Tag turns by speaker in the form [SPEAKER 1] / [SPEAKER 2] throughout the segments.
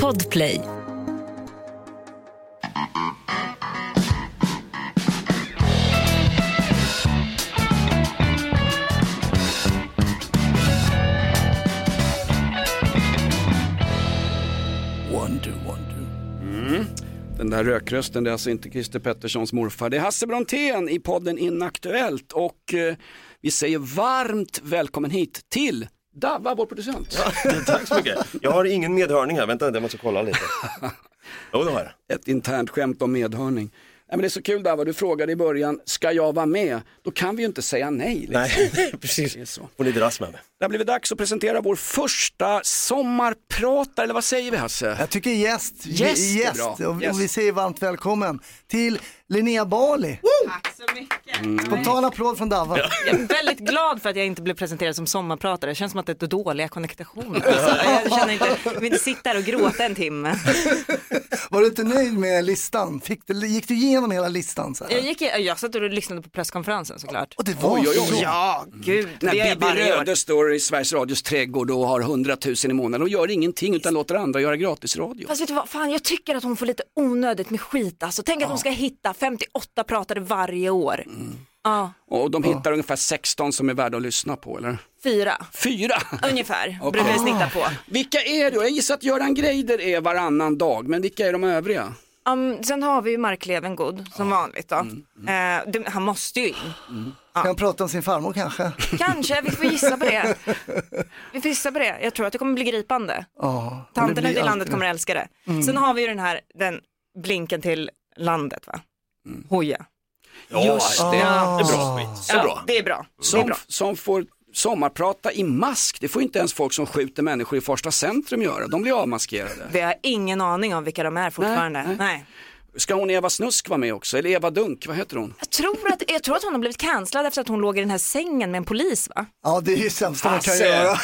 [SPEAKER 1] Podplay.
[SPEAKER 2] One, two, one, two.
[SPEAKER 3] Mm. Den där rökrösten, det är alltså inte Christer Petterssons morfar. Det är Hasse Brontén i podden Inaktuellt och eh, vi säger varmt välkommen hit till Davva, vår producent.
[SPEAKER 4] Tack så mycket. Jag har ingen medhörning här, vänta jag måste kolla lite. Jo det har jag.
[SPEAKER 3] Ett internt skämt om medhörning. Nej, men det är så kul Davva, du frågade i början, ska jag vara med? Då kan vi ju inte säga nej. Liksom.
[SPEAKER 4] Nej, precis.
[SPEAKER 3] så.
[SPEAKER 4] Får ni dras med mig.
[SPEAKER 3] Det har blivit dags att presentera vår första sommarpratare, eller vad säger vi Hasse?
[SPEAKER 2] Jag tycker gäst.
[SPEAKER 3] Gäst är
[SPEAKER 2] gäst.
[SPEAKER 3] bra.
[SPEAKER 2] Och, och
[SPEAKER 3] Gäst.
[SPEAKER 2] vi säger varmt välkommen till Linnea Bali.
[SPEAKER 5] Tack så mycket.
[SPEAKER 2] Spontan applåd från Davva.
[SPEAKER 5] Jag är väldigt glad för att jag inte blev presenterad som sommarpratare. Det känns som att det är dåliga connectationer. Alltså, jag känner inte, jag vill inte sitta här och gråta en timme.
[SPEAKER 2] Var du inte nöjd med listan? Fick du, gick du igenom hela listan? Så här?
[SPEAKER 5] Jag, gick, jag satt och lyssnade på presskonferensen såklart.
[SPEAKER 2] Och det var
[SPEAKER 3] Oj, oj, oj.
[SPEAKER 2] så.
[SPEAKER 5] Ja, gud.
[SPEAKER 3] När
[SPEAKER 5] det är
[SPEAKER 3] Bibi
[SPEAKER 5] varje år.
[SPEAKER 3] Röde står i Sveriges Radios trädgård och har 100 000 i månaden och gör ingenting utan låter andra göra gratisradio.
[SPEAKER 6] Fast vet du vad, fan jag tycker att hon får lite onödigt med skit alltså. Tänk att hon ska hitta 58 pratare varje år.
[SPEAKER 3] Mm.
[SPEAKER 6] Ja,
[SPEAKER 3] Och de hittar ungefär 16 som är värda att lyssna på, eller?
[SPEAKER 6] fyra
[SPEAKER 3] Fyra!
[SPEAKER 6] ungefär
[SPEAKER 3] Okej.
[SPEAKER 6] brukar jag snitta på.
[SPEAKER 3] Vilka är det? Jag gissar att Göran Greider är varannan dag, men vilka är de övriga?
[SPEAKER 6] Um, sen har vi ju Mark Levengood som vanligt då.
[SPEAKER 3] Mm.
[SPEAKER 6] Eh, det, han måste ju in.
[SPEAKER 2] Kan han prata om sin farmor kanske?
[SPEAKER 6] Kanske, vi får gissa på det. Vi får gissa på det. Jag tror att det kommer bli gripande.
[SPEAKER 2] Ja. Det Mm.
[SPEAKER 6] Tanterna
[SPEAKER 2] blir
[SPEAKER 6] ute i landet
[SPEAKER 2] alltid-
[SPEAKER 6] kommer att älska det. Sen har vi ju den här den blinken till landet va?
[SPEAKER 2] Mm.
[SPEAKER 6] Hoja.
[SPEAKER 3] Just det,
[SPEAKER 2] Ah.
[SPEAKER 3] det är bra. Så
[SPEAKER 6] ja,
[SPEAKER 3] bra.
[SPEAKER 6] Det är bra. det är
[SPEAKER 3] Som,
[SPEAKER 6] bra.
[SPEAKER 3] som får sommarprata i mask, det får inte ens folk som skjuter människor i första centrum göra, de blir avmaskerade.
[SPEAKER 6] Vi har ingen aning om vilka de är fortfarande.
[SPEAKER 3] Nej, nej.
[SPEAKER 6] nej.
[SPEAKER 3] Ska hon Eva Snusk vara med också? Eller Eva Dunk, vad heter hon?
[SPEAKER 6] Jag tror, att, jag tror att hon har blivit cancellad efter att hon låg i den här sängen med en polis va?
[SPEAKER 2] Ja, det är ju sämsta man kan
[SPEAKER 3] Hasse.
[SPEAKER 2] göra.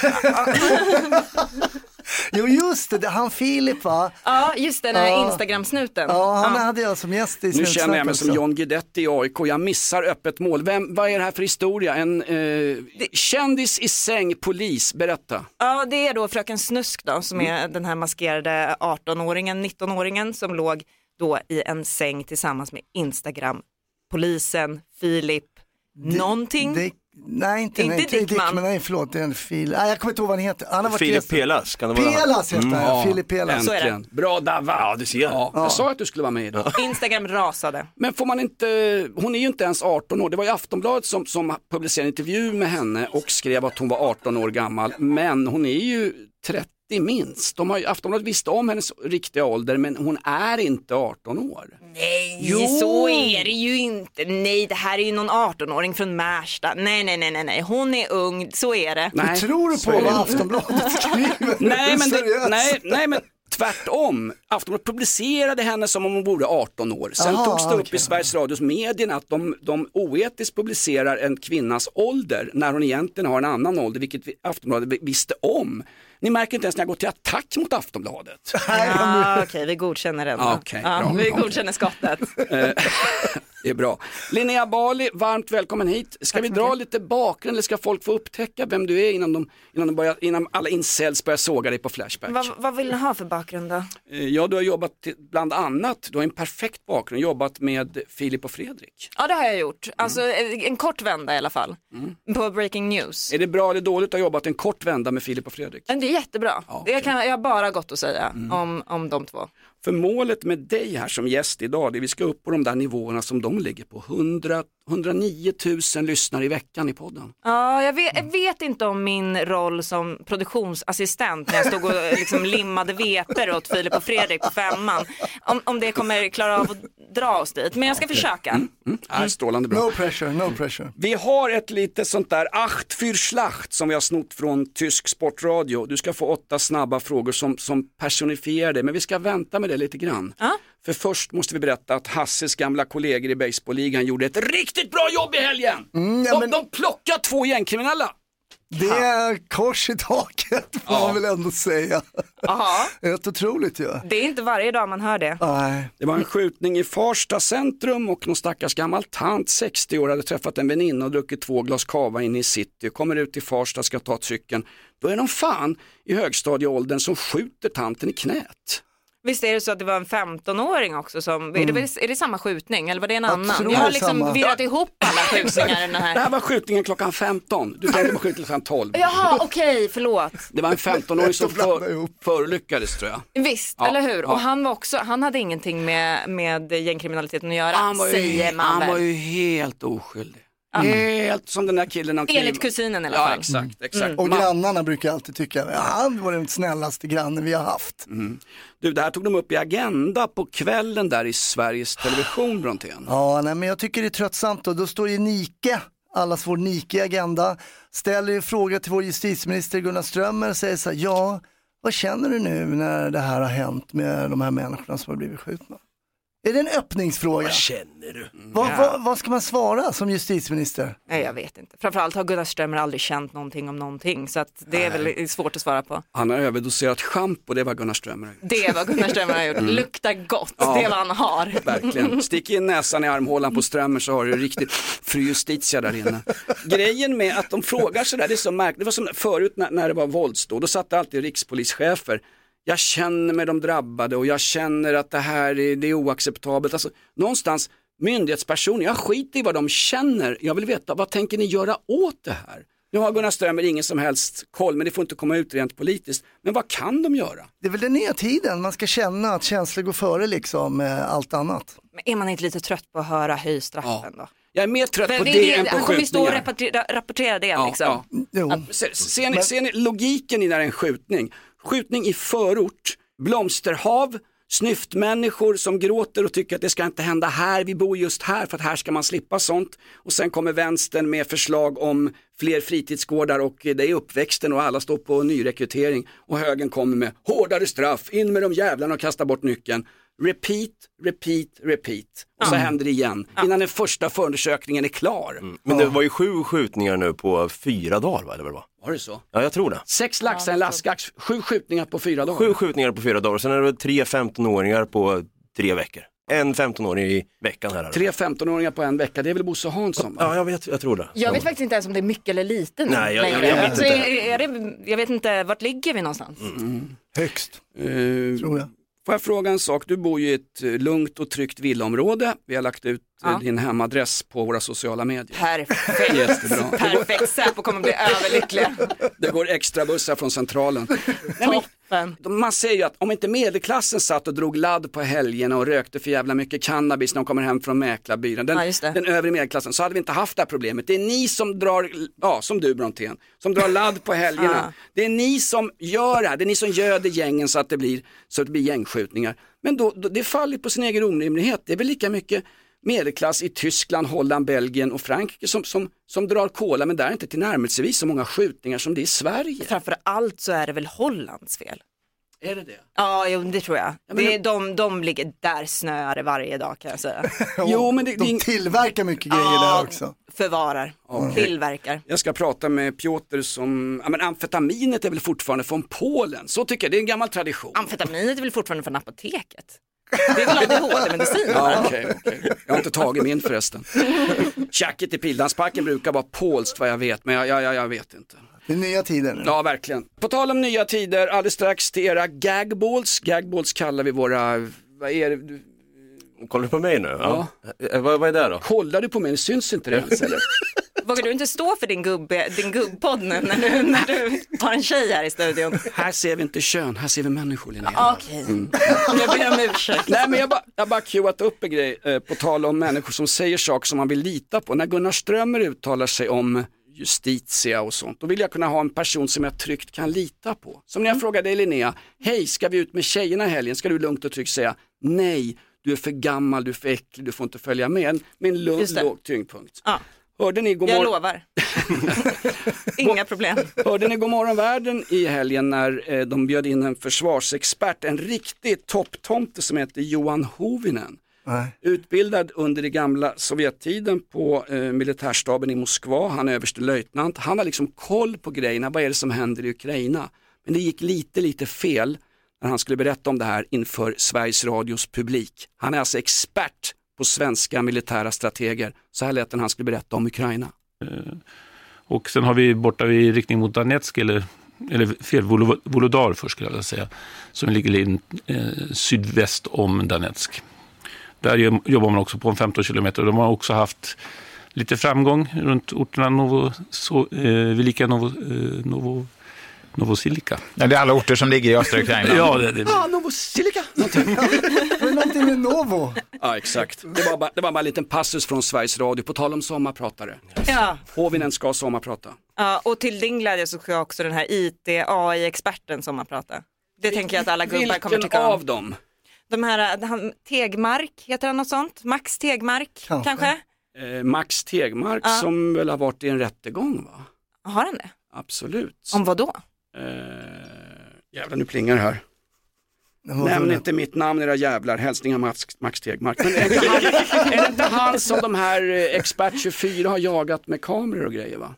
[SPEAKER 2] jo, just det, det, han Filip va?
[SPEAKER 6] Ja just den här Instagram-snuten.
[SPEAKER 2] Ja, han hade jag som gäst i
[SPEAKER 3] Nu
[SPEAKER 2] Snutsnack
[SPEAKER 3] känner jag mig som
[SPEAKER 2] också.
[SPEAKER 3] John Guidetti i AIK, jag missar öppet mål. Vem, vad är det här för historia? En eh, kändis i säng, polis, berätta.
[SPEAKER 6] Ja, det är då fröken Snusk då som är den här maskerade 18-åringen, 19-åringen som låg då i en säng tillsammans med Instagram, polisen, Filip, någonting.
[SPEAKER 2] Dick, nej, inte,
[SPEAKER 6] Inte
[SPEAKER 2] nej,
[SPEAKER 6] Dickman.
[SPEAKER 2] Dick, men nej, förlåt, det är en fil. Nej, jag kommer inte ihåg vad han heter. Han har varit
[SPEAKER 4] Filip
[SPEAKER 2] gäst.
[SPEAKER 4] Pelas, kan det vara han?
[SPEAKER 2] Pelas heter han, ja. Filip Pelas.
[SPEAKER 6] Så är det.
[SPEAKER 3] Äntligen. Bra Davva.
[SPEAKER 4] Ja, du ser.
[SPEAKER 3] Ja, jag sa att du skulle vara med idag.
[SPEAKER 6] Instagram rasade.
[SPEAKER 3] Men får man inte, hon är ju inte ens 18 år, det var ju Aftonbladet som, som publicerade en intervju med henne och skrev att hon var 18 år gammal, men hon är ju 30 minst. De har ju, Aftonbladet visste om hennes riktiga ålder men hon är inte 18 år.
[SPEAKER 6] Nej, så är det ju inte. Nej, det här är ju någon 18-åring från Märsta. Nej, nej, nej, nej, nej, hon är ung, så är det.
[SPEAKER 2] Hur tror du
[SPEAKER 3] så
[SPEAKER 2] på
[SPEAKER 3] är det
[SPEAKER 2] vad
[SPEAKER 3] inte.
[SPEAKER 2] Aftonbladet skriver?
[SPEAKER 3] Nej men, det,
[SPEAKER 2] Seriöst.
[SPEAKER 3] nej, nej men tvärtom. Aftonbladet publicerade henne som om hon vore 18 år. Sen
[SPEAKER 2] Aha,
[SPEAKER 3] togs det upp
[SPEAKER 2] okej.
[SPEAKER 3] i Sveriges Radios medierna att de, de oetiskt publicerar en kvinnas ålder när hon egentligen har en annan ålder, vilket vi- Aftonbladet vi- visste om. Ni märker inte ens när jag går till attack mot Aftonbladet.
[SPEAKER 6] Ah, Okej, vi godkänner den. då.
[SPEAKER 3] Okej,
[SPEAKER 6] ja,
[SPEAKER 3] bra.
[SPEAKER 6] vi
[SPEAKER 3] Okej.
[SPEAKER 6] godkänner skottet.
[SPEAKER 3] Eh, Det är bra. Linnea Bali, varmt välkommen hit. Ska vi dra lite bakgrund eller ska folk få upptäcka vem du är innan, de, innan, de börjar, innan alla incels börjar såga dig på Flashback?
[SPEAKER 6] Vad, vad vill ni ha för bakgrund då?
[SPEAKER 3] Eh, Ja, du har jobbat till- bland annat, du har en perfekt bakgrund, jobbat med Filip och Fredrik.
[SPEAKER 6] Ja, det har jag
[SPEAKER 3] Mm.
[SPEAKER 6] gjort. Alltså en kort vända i alla fall på Breaking News.
[SPEAKER 3] Är det bra eller dåligt att ha jobbat en kort vända med Filip och Fredrik?
[SPEAKER 6] Men Det är jättebra.
[SPEAKER 3] Ja, Mm.
[SPEAKER 6] jag, kan, jag har bara gott att säga om, om de två.
[SPEAKER 3] För målet med dig här som gäst idag, det är vi ska upp på de där nivåerna som de ligger på. 100, 109 000 lyssnare i veckan i podden.
[SPEAKER 6] Ja, jag, vet,
[SPEAKER 3] Mm.
[SPEAKER 6] jag vet inte om min roll som produktionsassistent när jag stod och liksom limmade veter åt Filip och Fredrik på femman, om, om det kommer klara av att dra oss dit. Men jag ska försöka.
[SPEAKER 3] Mm. Är strålande bra.
[SPEAKER 2] No pressure, no pressure.
[SPEAKER 3] Vi har ett lite sånt där Acht für Schlacht som vi har snott från tysk sportradio. Du ska få åtta snabba frågor som, som personifierar det, men vi ska vänta med det lite grann. För först måste vi berätta att Hasses gamla kollegor i baseballligan gjorde ett riktigt bra jobb i helgen! de, de plockade två gängkriminella!
[SPEAKER 2] Det är kors i taket får man väl ändå säga.
[SPEAKER 6] Jaha,
[SPEAKER 2] Rätt otroligt ju.
[SPEAKER 6] det är inte varje dag man hör det.
[SPEAKER 2] Nej.
[SPEAKER 3] Det var en skjutning i Farsta centrum och någon stackars gammal tant, 60 år, hade träffat en väninna och druckit två glas cava inne i city. Kommer ut till Farsta, ska ta cykeln. Då är det någon fan i högstadieåldern som skjuter tanten i knät.
[SPEAKER 6] Visst är det så att det var en 15-åring också som, är,
[SPEAKER 3] Mm.
[SPEAKER 6] det, väl- är det samma skjutning eller var det en
[SPEAKER 2] Jag
[SPEAKER 6] annan?
[SPEAKER 2] tror
[SPEAKER 6] Jag
[SPEAKER 2] det
[SPEAKER 6] har
[SPEAKER 2] är samma.
[SPEAKER 6] liksom virrat ihop alla skjutningar i den
[SPEAKER 3] Det
[SPEAKER 6] här.
[SPEAKER 3] här var skjutningen klockan 15. Du tänkte på skjutningen klockan 12.
[SPEAKER 6] Jaha, okej, förlåt.
[SPEAKER 3] Det var en 15-åring som
[SPEAKER 2] Blanda
[SPEAKER 3] för,
[SPEAKER 2] ihop.
[SPEAKER 3] förolyckades tror jag.
[SPEAKER 6] Visst,
[SPEAKER 3] Ja,
[SPEAKER 6] eller hur?
[SPEAKER 3] ja.
[SPEAKER 6] Och han var också, han hade ingenting med, med gängkriminaliteten att göra,
[SPEAKER 3] Ah, Han var ju,
[SPEAKER 6] säger man
[SPEAKER 3] han
[SPEAKER 6] väl?
[SPEAKER 3] var ju helt oskyldig. Helt som den där killen omkring.
[SPEAKER 6] Enligt kusinen i alla
[SPEAKER 3] Ja
[SPEAKER 6] fall.
[SPEAKER 3] exakt, exakt.
[SPEAKER 2] Och grannarna brukar alltid tycka att han var den snällaste grannen vi har haft.
[SPEAKER 3] Du, det här tog de upp i Agenda på kvällen där i Sveriges Television Brontén.
[SPEAKER 2] Ja, nej, men jag tycker det är tröttsamt och då står ju Nike, allas vår Nike i Agenda, ställer ju fråga till vår justitieminister Gunnar Strömmer och säger så här, ja, vad känner du nu när det här har hänt med de här människorna som har blivit skjutna? Är det en öppningsfråga?
[SPEAKER 4] Känner du?
[SPEAKER 3] Mm.
[SPEAKER 2] Vad, vad, vad ska man svara som justitieminister?
[SPEAKER 6] Nej, jag vet inte. Framförallt har Gunnar Strömmer aldrig känt någonting om någonting, så att det är väl svårt att svara på.
[SPEAKER 3] Han har överdoserat schampo, det var Gunnar Strömmer har gjort.
[SPEAKER 6] Det är vad Gunnar Strömmer har gjort. Luktar gott, det är vad han har.
[SPEAKER 3] Verkligen. Stick in näsan i armhålan på Strömmer så har du riktigt fru Justitia där inne. Grejen med att de frågar sådär, det är så märkligt. Det var som förut när, när det var våldsdåd, då satt det alltid rikspolischefer. Jag känner med de drabbade och jag känner att det här är, det är oacceptabelt. Alltså, någonstans, myndighetspersoner, jag skiter i vad de känner. Jag vill veta, vad tänker ni göra åt det här? Nu har Gunnar Strömmer ingen som helst koll, men det får inte komma ut rent politiskt. Men vad kan de göra?
[SPEAKER 2] Det är väl den nya tiden, man ska känna att känslor går före liksom eh, allt annat.
[SPEAKER 6] Men är man inte lite trött på att höra höj straffen då?
[SPEAKER 3] Jag är mer trött
[SPEAKER 6] Men
[SPEAKER 3] på
[SPEAKER 6] det
[SPEAKER 3] det,
[SPEAKER 6] är
[SPEAKER 3] än på
[SPEAKER 6] han kommer ju stå och
[SPEAKER 3] skjutningar.
[SPEAKER 6] rapportera, rapportera det liksom.
[SPEAKER 2] Jo.
[SPEAKER 3] Ser, ser, ni, ser ni logiken i när en skjutning? Skjutning i förort, blomsterhav, snyftmänniskor som gråter och tycker att det ska inte hända här, vi bor just här för att här ska man slippa sånt. Och sen kommer vänstern med förslag om fler fritidsgårdar och eh, det är uppväxten och alla står på nyrekrytering och högern kommer med hårdare straff, in med de jävlarna och kasta bort nyckeln. Repeat, repeat, repeat. Och så händer det igen innan den första förundersökningen är klar.
[SPEAKER 4] Men det var ju sju skjutningar nu på fyra dagar va? Eller vad det var?
[SPEAKER 3] Var det så?
[SPEAKER 4] Ja, jag tror det.
[SPEAKER 3] Sex laxar, en lastgax, sju skjutningar på fyra dagar.
[SPEAKER 4] Sju skjutningar på fyra dagar, sen är det väl tre 15-åringar på tre veckor. En 15-åring i veckan här.
[SPEAKER 3] Tre 15-åringar på en vecka, det är väl Bosse Hansson? va?
[SPEAKER 4] Ja, jag vet, jag tror det.
[SPEAKER 6] Jag vet faktiskt inte ens om det är mycket eller lite nu
[SPEAKER 4] Nej, jag- jag
[SPEAKER 6] längre.
[SPEAKER 4] vet
[SPEAKER 6] alltså,
[SPEAKER 4] inte.
[SPEAKER 6] är, är det, jag vet inte, vart ligger vi någonstans?
[SPEAKER 2] Högst,
[SPEAKER 3] Eh,
[SPEAKER 2] tror jag.
[SPEAKER 3] får jag fråga en sak? Du bor ju i ett eh, lugnt och tryggt villaområde. Vi har lagt ut eh,
[SPEAKER 6] Ja.
[SPEAKER 3] din hemadress på våra sociala medier.
[SPEAKER 6] Perfekt,
[SPEAKER 3] Jättebra.
[SPEAKER 6] perfekt. Säpo kommer bli överlyckliga.
[SPEAKER 3] Det går extra bussar från centralen. Nej, men,
[SPEAKER 6] Toppen.
[SPEAKER 3] de- man säger ju att om inte medelklassen satt och drog ladd på helgerna och rökte för jävla mycket cannabis när de kommer hem från mäklarbyrån, den,
[SPEAKER 6] Ja, just det.
[SPEAKER 3] den övre medelklassen, så hade vi inte haft det här problemet. Det är ni som drar, ja som du Brontén, som drar ladd på helgerna. Det är ni som gör det här, det är ni som göder gängen så att det blir, så att det blir gängskjutningar. Men då, då, det faller på sin egen orimlighet, det är väl lika mycket medelklass i Tyskland, Holland, Belgien och Frankrike som, som, som drar kola men där är inte tillnärmelsevis så många skjutningar som det är i Sverige.
[SPEAKER 6] Framför allt så är det väl Hollands fel?
[SPEAKER 3] Är det det?
[SPEAKER 6] Ja, jo, det tror jag.
[SPEAKER 3] men-
[SPEAKER 6] det är de, de ligger där snöar det varje dag kan jag säga.
[SPEAKER 3] Jo, men det- det är
[SPEAKER 2] De
[SPEAKER 3] ing-
[SPEAKER 2] tillverkar mycket grejer där också.
[SPEAKER 6] Förvarar, tillverkar.
[SPEAKER 3] Jag ska prata med Piotr som, ja men amfetaminet är väl fortfarande från Polen, så tycker jag, det är en gammal tradition.
[SPEAKER 6] Amfetaminet är väl fortfarande från apoteket? Det är väl ADHD-medicin?
[SPEAKER 3] Ja, okej, okej. Jag har inte tagit min förresten. Tjacket i Pildansparken brukar vara polskt vad jag vet, men jag, jag, jag- jag vet inte.
[SPEAKER 2] Det är nya tider nu.
[SPEAKER 3] Ja, verkligen. På tal om nya tider, alldeles strax till era gagballs. Gagballs kallar vi våra, vad är det?
[SPEAKER 4] Kollar du på mig nu? Ja. Eh, Vad, vad är det då?
[SPEAKER 3] Kollar du på mig, det syns inte det ens eller?
[SPEAKER 6] Vågar du inte stå för din, gubbe, din gubbpodd nu när, du, när du har en tjej här i studion?
[SPEAKER 3] Här ser vi inte kön, här ser vi människor Linnea.
[SPEAKER 6] Okej,
[SPEAKER 3] Mm.
[SPEAKER 6] jag ber om ursäkt.
[SPEAKER 3] Nej men jag bara, jag bara cuat upp en grej eh, på tal om människor som säger saker som man vill lita på. När Gunnar Strömmer uttalar sig om Justitia och sånt, då vill jag kunna ha en person som jag tryggt kan lita på. Som
[SPEAKER 6] Mm.
[SPEAKER 3] när jag frågar dig Linnea, hej ska vi ut med tjejerna i helgen? Ska du lugnt och tryggt säga nej, du är för gammal, du är för äcklig, du får inte följa med. Med en lugn,
[SPEAKER 6] Just det.
[SPEAKER 3] låg tyngdpunkt.
[SPEAKER 6] Ja,
[SPEAKER 3] Hörde ni, god
[SPEAKER 6] jag
[SPEAKER 3] morgon,
[SPEAKER 6] lovar. Inga problem.
[SPEAKER 3] Hörde ni Godmorgon världen i helgen när eh, de bjöd in en försvarsexpert, en riktig topptomte som heter Johan Hovinen.
[SPEAKER 2] Nej.
[SPEAKER 3] Utbildad under det gamla Sovjettiden på eh, militärstaben i Moskva, han är överstelöjtnant. Han har liksom koll på grejerna, vad är det som händer i Ukraina? Men det gick lite, lite fel när han skulle berätta om det här inför Sveriges Radios publik. Han är alltså expert på svenska militära strateger. Så här lät det när han skulle berätta om Ukraina.
[SPEAKER 1] Och sen har vi borta i riktning mot Donetsk, eller, eller fel, Volo- Volodar först skulle jag vilja säga, som ligger in, eh, sydväst om Donetsk. Där jo- jobbar man också på en 15 kilometer och de har också haft lite framgång runt orterna Novo, so, eh, Velika Novo, eh, Novo, Novosilika.
[SPEAKER 7] Ja, det är alla orter som ligger i östra Ukraina.
[SPEAKER 1] Ja, det, det,
[SPEAKER 3] Novosilika!
[SPEAKER 2] Det var någonting med Novo.
[SPEAKER 3] Ja, exakt. Det var, bara, det var bara en liten passus från Sveriges Radio, på tal om sommarpratare.
[SPEAKER 6] Ja.
[SPEAKER 3] Hovinen ska sommarprata.
[SPEAKER 6] ja, och till din glädje så ska också den här IT-AI-experten som man pratar. Det tänker jag att alla gubbar kommer
[SPEAKER 3] Vilken
[SPEAKER 6] tycka om.
[SPEAKER 3] av dem?
[SPEAKER 6] De här, eh, han, Tegmark, heter han något sånt? Max Tegmark
[SPEAKER 2] Kanske.
[SPEAKER 6] kanske?
[SPEAKER 3] Eh, Max Tegmark
[SPEAKER 6] Ja.
[SPEAKER 3] som väl har varit i en rättegång va?
[SPEAKER 6] Har han det?
[SPEAKER 3] Absolut.
[SPEAKER 6] Om vad då?
[SPEAKER 3] Eh, jävlar nu plingar det här. Nämn inte mitt namn era jävlar, hälsningar Max, Max Tegmark. Men är det, inte han, är det inte han som de här eh, Expert 24 har jagat med kameror och grejer va?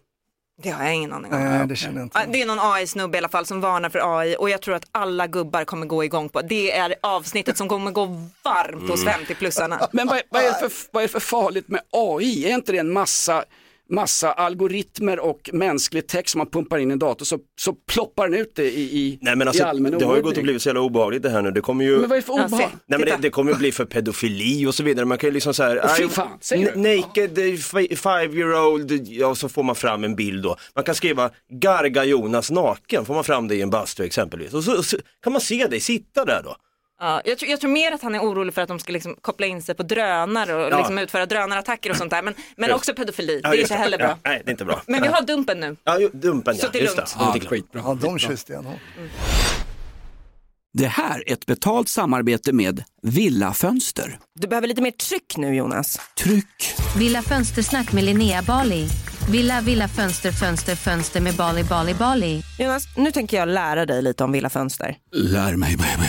[SPEAKER 6] Det har jag ingen aning om.
[SPEAKER 2] Nej, det känner jag
[SPEAKER 6] Ja,
[SPEAKER 2] inte.
[SPEAKER 6] Det är någon AI-snubbe i alla fall som varnar för AI och jag tror att alla gubbar kommer gå igång på. Det är avsnittet som kommer gå varmt hos
[SPEAKER 4] Mm.
[SPEAKER 6] 50-plussarna.
[SPEAKER 3] Men vad, vad, är det för, vad är det för farligt med AI? Är inte det en massa, massa algoritmer och mänsklig text som man pumpar in i en dator så, så ploppar den ut det i, i,
[SPEAKER 4] Nej men
[SPEAKER 3] i
[SPEAKER 4] alltså,
[SPEAKER 3] allmän
[SPEAKER 4] det har ju
[SPEAKER 3] oordning?
[SPEAKER 4] gått och blivit så jävla obehagligt det här nu. Det kommer ju...
[SPEAKER 3] Men vad är det för
[SPEAKER 6] Ja, se.
[SPEAKER 3] obehag?
[SPEAKER 4] Nej men det,
[SPEAKER 6] Titta.
[SPEAKER 4] det kommer bli för pedofili och så vidare. Man kan ju liksom så här,
[SPEAKER 3] fy
[SPEAKER 4] "Aj,
[SPEAKER 3] fan, säger
[SPEAKER 4] n- naked eh, fi- five year old, ja och så får man fram en bild då. Man kan skriva garga Jonas naken, får man fram det i en bastu exempelvis. Och så, så kan man se dig sitta där då.
[SPEAKER 6] Ja, jag, tror, jag tror mer att han är orolig för att de ska liksom koppla in sig på drönare och
[SPEAKER 4] Ja.
[SPEAKER 6] liksom utföra drönarattacker och sånt där. Men, men
[SPEAKER 4] Just.
[SPEAKER 6] också pedofili, det
[SPEAKER 4] Ja,
[SPEAKER 6] är
[SPEAKER 4] just
[SPEAKER 6] inte heller bra.
[SPEAKER 4] Ja, nej, det är inte bra.
[SPEAKER 6] Men vi har dumpen nu.
[SPEAKER 4] Ja, ju- dumpen ja,
[SPEAKER 6] Så det är
[SPEAKER 4] just det.
[SPEAKER 6] lugnt.
[SPEAKER 4] Ja,
[SPEAKER 3] Ja,
[SPEAKER 4] det är klart.
[SPEAKER 3] skitbra.
[SPEAKER 2] Ja, de kör ju stenhårt.
[SPEAKER 3] Det här är ett betalt samarbete med Villa Fönster.
[SPEAKER 5] Du behöver lite mer tryck nu Jonas.
[SPEAKER 3] Tryck!
[SPEAKER 8] Villa Fönstersnack med Linnea Bali. Villa, villa, fönster, fönster, fönster med Bali, Bali, Bali.
[SPEAKER 5] Jonas, nu tänker jag lära dig lite om Villa Fönster.
[SPEAKER 3] Lär mig baby.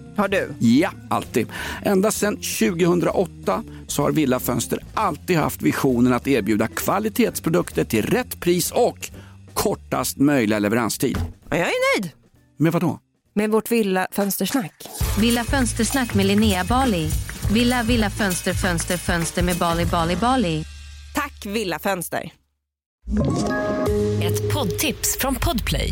[SPEAKER 5] Har du?
[SPEAKER 3] Ja, alltid. Ända sedan 2008 så har Villa Fönster alltid haft visionen att erbjuda kvalitetsprodukter till rätt pris och kortast möjliga leveranstid.
[SPEAKER 5] Ja, Jag är nöjd
[SPEAKER 3] Men vadå?
[SPEAKER 5] med vårt Villafönstersnack.
[SPEAKER 8] Villa Fönstersnack med Linnea Bali. Villa, villa, fönster, fönster, fönster med Bali, Bali, Bali.
[SPEAKER 5] Tack Villafönster.
[SPEAKER 9] Ett poddtips från Podplay.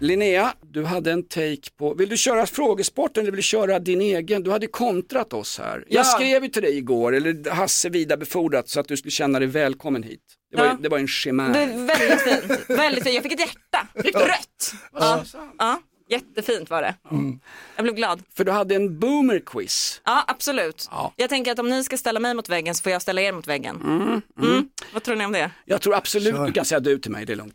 [SPEAKER 3] Linnea, du hade en take på, vill du köra frågesporten eller vill du köra din egen? Du hade kontrat oss här. Jag skrev ju till dig igår, eller Hasse vidarebefordrat så att du skulle känna dig välkommen hit. Det var, ju-
[SPEAKER 6] Ja.
[SPEAKER 3] det var en chimär.
[SPEAKER 6] Det är väldigt fint. Väldigt fint. Jag fick ett hjärta. Rött.
[SPEAKER 3] Ja.
[SPEAKER 6] Ja. Jättefint var det.
[SPEAKER 5] Mm.
[SPEAKER 6] Jag blev glad.
[SPEAKER 3] För du hade en boomer-quiz.
[SPEAKER 6] Ja, absolut. Jag tänker att om ni ska ställa mig mot väggen så får jag ställa er mot väggen. Mm. Vad tror ni om det?
[SPEAKER 3] Jag tror absolut du kan säga du till mig, det är lugnt.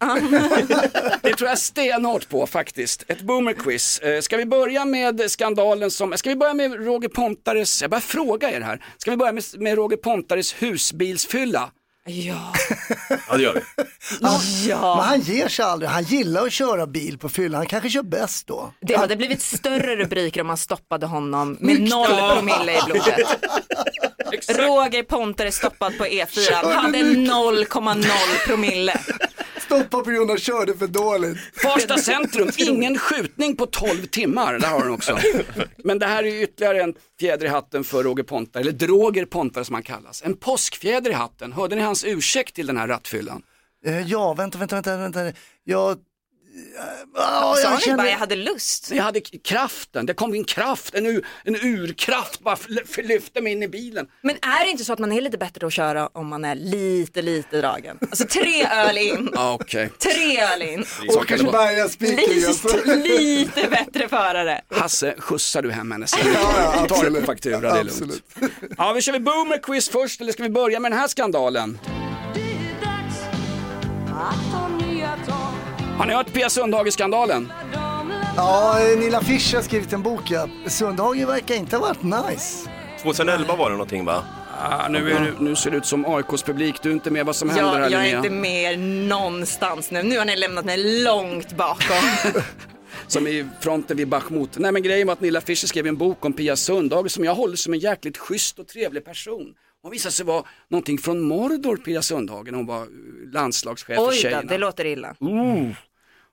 [SPEAKER 3] det tror jag stenhårt på faktiskt. Ett boomer-quiz. Eh, Ska vi börja med skandalen som, ska vi börja med Roger Pontares, jag bara fråga er här. Ska vi börja med, med Roger Pontares husbilsfylla?
[SPEAKER 6] Ja.
[SPEAKER 4] Ja det gör vi.
[SPEAKER 2] Men han ger sig aldrig, han gillar att köra bil på fyllan, han kanske kör bäst då.
[SPEAKER 6] Det hade blivit större rubriker om man stoppade honom med noll promille i blodet. Roger Pontare stoppad på E4, han hade 0,0 promille.
[SPEAKER 2] Stoppa på grund av körde för dåligt.
[SPEAKER 3] Farsta centrum, ingen skjutning på 12 timmar, där har den också. Men det här är ju ytterligare en fjäder i hatten för Roger Pontare, eller Droger Pontare som han kallas. En påskfjäder i hatten, hörde ni hans ursäkt till den här rattfyllan?
[SPEAKER 2] Eh, ja, vänta, vänta, vänta, vänta. Jag...
[SPEAKER 6] Sa han
[SPEAKER 2] Ja, jag
[SPEAKER 6] inte bara jag
[SPEAKER 2] känner...
[SPEAKER 6] hade lust?
[SPEAKER 3] Jag hade k- kraften, det kom in kraft, en, ur, en urkraft bara fl- fl- lyfte mig in i bilen.
[SPEAKER 6] Men är det inte så att man är lite bättre att köra om man är lite, lite dragen? Alltså tre öl in,
[SPEAKER 3] Ja, Ah, okej.
[SPEAKER 6] tre öl in.
[SPEAKER 3] Så kan det vara.
[SPEAKER 6] Lite,
[SPEAKER 2] Åkersbergaspiken.
[SPEAKER 6] lite bättre förare.
[SPEAKER 3] Hasse, skjutsar du hem henne sen? Tar det på faktura, det är lugnt. Ja, vi kör vi boomer-quiz först eller ska vi börja med den här skandalen? Har ni hört Pia Sundhage-skandalen?
[SPEAKER 2] Ja, eh, Nilla Fischer har skrivit en bok ja. Sundhagen verkar inte ha varit nice.
[SPEAKER 4] 2011 var det någonting va?
[SPEAKER 3] Ah, nu, är, du- nu ser det ut som AIKs publik, du är inte med vad som händer här
[SPEAKER 6] Jag, jag är
[SPEAKER 3] Linnea.
[SPEAKER 6] inte med någonstans nu. Nu har ni lämnat mig långt bakom.
[SPEAKER 3] Som i fronten vid Bachmut. Nej men grejen var att Nilla Fischer skrev en bok om Pia Sundhage som jag håller som en jäkligt schysst och trevlig person. Hon visade sig vara någonting från Mordor, Pia Sundhage, när hon var eh, landslagschef för
[SPEAKER 6] Oj då,
[SPEAKER 3] tjejerna. Mm.
[SPEAKER 6] det låter illa.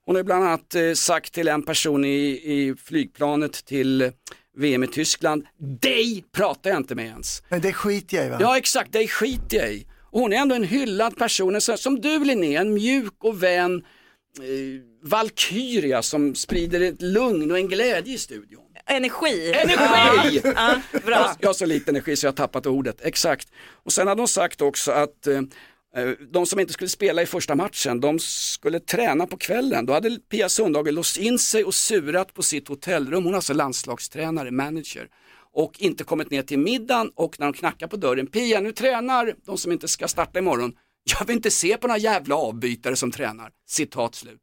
[SPEAKER 3] Hon har bland annat eh, sagt till en person i, i flygplanet till eh, VM i Tyskland, dig pratar jag inte med ens.
[SPEAKER 2] Men det skiter jag i va?
[SPEAKER 3] Ja exakt, dig skiter jag i. Och hon är ändå en hyllad person, en sån- som du Linnea, en mjuk och vän eh, valkyria som sprider ett lugn och en glädje i studion.
[SPEAKER 6] Energi.
[SPEAKER 3] Energi!
[SPEAKER 6] Ja, bra.
[SPEAKER 3] Jag har så lite energi så jag har tappat ordet, exakt. Och sen hade hon sagt också att eh, eh, de som inte skulle spela i första matchen, de skulle träna på kvällen. Då hade Pia Sundhage låst in sig och surat på sitt hotellrum. Hon är alltså landslagstränare, manager och inte kommit ner till middagen och när de knackar på dörren, Pia nu tränar de som inte ska starta imorgon. Jag vill inte se på några jävla avbytare som tränar. Citat slut.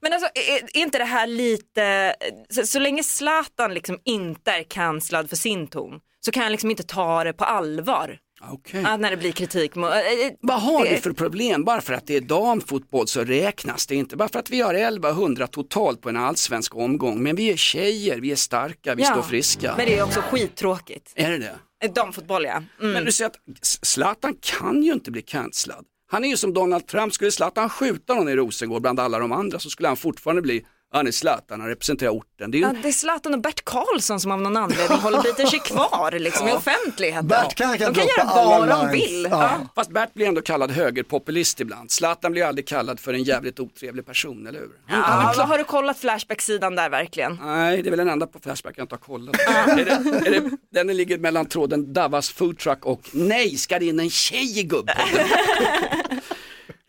[SPEAKER 6] Men alltså, är, är inte det här lite, så, så länge Zlatan liksom inte är cancellad för sin ton så kan jag liksom inte ta det på allvar.
[SPEAKER 3] Okej.
[SPEAKER 6] Att när det blir kritik mot, eh, eh,
[SPEAKER 3] Vad har
[SPEAKER 6] det-
[SPEAKER 3] vi för problem? Bara för att det är damfotboll så räknas det inte. Bara för att vi har 1100 totalt på en allsvensk omgång. Men vi är tjejer, vi är starka, vi
[SPEAKER 6] Ja,
[SPEAKER 3] står friska.
[SPEAKER 6] Men det är också skittråkigt.
[SPEAKER 3] Är det det?
[SPEAKER 6] Eh, Damfotboll ja. Mm.
[SPEAKER 3] Men du ser att S- Zlatan kan ju inte bli cancellad. Han är ju som Donald Trump, skulle Zlatan skjuta någon i Rosengård bland alla de andra så skulle han fortfarande bli, han är Zlatan, han representerar orten. Det är ju
[SPEAKER 6] Ja, det är Zlatan och Bert Karlsson som av någon anledning håller biter sig kvar liksom, i offentligheten.
[SPEAKER 2] Bert kan- kan
[SPEAKER 6] de kan
[SPEAKER 2] droppa
[SPEAKER 6] göra
[SPEAKER 2] alla
[SPEAKER 6] vad de
[SPEAKER 2] lines.
[SPEAKER 6] vill.
[SPEAKER 2] Ja.
[SPEAKER 6] Ja.
[SPEAKER 3] Fast Bert blir ändå kallad högerpopulist ibland. Zlatan blir aldrig kallad för en jävligt otrevlig person, eller hur?
[SPEAKER 6] Ja, vad har du kollat Flashback-sidan där verkligen?
[SPEAKER 3] Nej, det är väl den enda på Flashback jag inte har kollat. är det, är det, den ligger mellan tråden Davas foodtruck och Nej, ska det in en tjej i gubbpodden?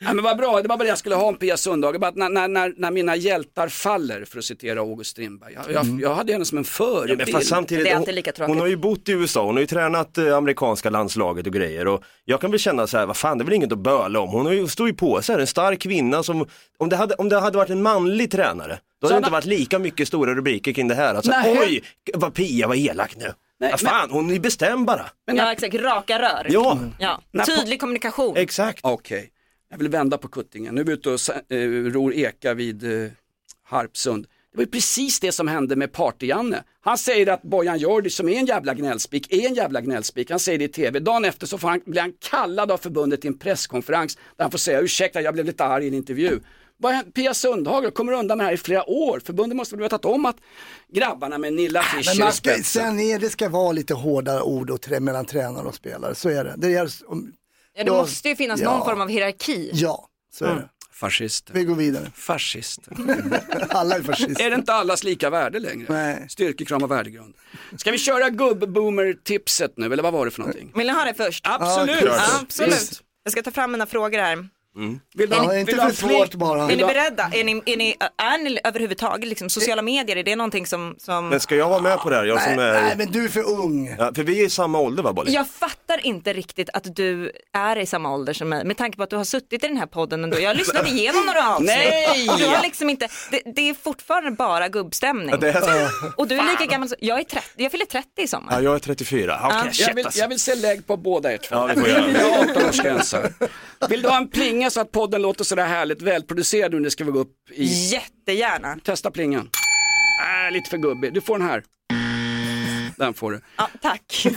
[SPEAKER 3] Nej men vad bra, det var bara det jag skulle ha om Pia Sundhage, bara att när, när- när, när mina hjältar faller, för att citera August Strindberg. Jag, jag, jag hade henne som en
[SPEAKER 4] Ja,
[SPEAKER 3] förebild.
[SPEAKER 4] men fast samtidigt,
[SPEAKER 6] Det är
[SPEAKER 4] hon,
[SPEAKER 6] alltid lika tråkigt.
[SPEAKER 4] hon har ju bott i USA, hon har ju tränat eh, amerikanska landslaget och grejer och jag kan väl känna så här, vad fan det är väl inget att böla om. Hon har ju, står ju på sig, här, en stark kvinna som, om det hade, om det hade varit en manlig tränare, då hade det inte varit lika mycket stora rubriker kring det här. Alltså,
[SPEAKER 3] Nej.
[SPEAKER 4] oj, vad Pia var elak nu.
[SPEAKER 3] Nej,
[SPEAKER 4] vad fan, hon är bestämd bara.
[SPEAKER 6] Ja exakt, raka rör.
[SPEAKER 4] Ja,
[SPEAKER 6] Ja. Tydlig kommunikation.
[SPEAKER 4] exakt.
[SPEAKER 3] Okej, jag vill vända på kuttingen. Nu är vi ute och sa- eh, ror eka vid eh, Harpsund. Det var ju precis det som hände med Party-Janne. Han säger att Bojan Jordi som är en jävla gnällspik, är en jävla gnällspik. Han säger det i tv. Dagen efter så får han, blir han kallad av förbundet till en presskonferens där han får säga ursäkta, jag blev lite arg i en intervju. Vad hände- Pia Sundhage kommer undan med det här i flera år. Förbundet måste väl vetat om att grabbarna med Nilla
[SPEAKER 2] Men
[SPEAKER 3] Fischer i
[SPEAKER 2] man ska,
[SPEAKER 3] spetsen.
[SPEAKER 2] sen är det ska vara lite hårdare ord och trä, mellan tränare och spelare, så är det. det är, om,
[SPEAKER 6] Ja, det
[SPEAKER 2] Ja.
[SPEAKER 6] måste ju finnas någon
[SPEAKER 2] Ja.
[SPEAKER 6] form av Mm. hierarki.
[SPEAKER 2] ja, så är det.
[SPEAKER 3] Fascister.
[SPEAKER 2] Vi går vidare.
[SPEAKER 3] Fascister.
[SPEAKER 2] Alla är fascister.
[SPEAKER 3] Är det inte allas lika värde längre?
[SPEAKER 2] Nej.
[SPEAKER 3] Styrkekram och värdegrund. Ska vi köra gubb-boomer-tipset nu, eller vad var det för någonting?
[SPEAKER 6] Vill ni ha det först?
[SPEAKER 3] Absolut!
[SPEAKER 6] Absolut. Jag ska ta fram mina frågor här.
[SPEAKER 3] Vill du ha-
[SPEAKER 2] Ja,
[SPEAKER 3] vill
[SPEAKER 2] inte
[SPEAKER 3] du ha
[SPEAKER 2] för
[SPEAKER 3] en flik?
[SPEAKER 2] svårt bara.
[SPEAKER 6] Är ni beredda? Är ni, är ni, är ni överhuvudtaget, liksom, sociala medier, är det någonting som... som...
[SPEAKER 4] Men ska jag vara med på det här? Jag som är...
[SPEAKER 2] Nej, men du är för ung.
[SPEAKER 4] Ja, för vi är i samma ålder va, Bolly?
[SPEAKER 6] Jag fattar inte riktigt att du är i samma ålder som mig med tanke på att du har suttit i den här podden ändå. Jag har lyssnat igenom några avsnitt.
[SPEAKER 3] Nej!
[SPEAKER 6] Och Du har liksom inte, det, det är fortfarande bara gubbstämning.
[SPEAKER 4] Ja, det är-
[SPEAKER 6] Och du är lika gammal som, jag, är 30, jag fyller 30 i sommar.
[SPEAKER 4] Ja, jag är 34. Okej,
[SPEAKER 6] Ja.
[SPEAKER 3] Jag
[SPEAKER 4] shit
[SPEAKER 3] vill,
[SPEAKER 4] alltså.
[SPEAKER 3] jag vill se lägg på båda er två.
[SPEAKER 4] Ja, vi får göra det.
[SPEAKER 3] Jag har 18-årsgränsen. Vill du ha en plinga så att podden låter sådär härligt välproducerad nu när ska vi gå upp i...
[SPEAKER 6] Jättegärna.
[SPEAKER 3] Testa plingan. Äh, lite för gubbig. Du får den här. Den får du.
[SPEAKER 6] Ja, tack.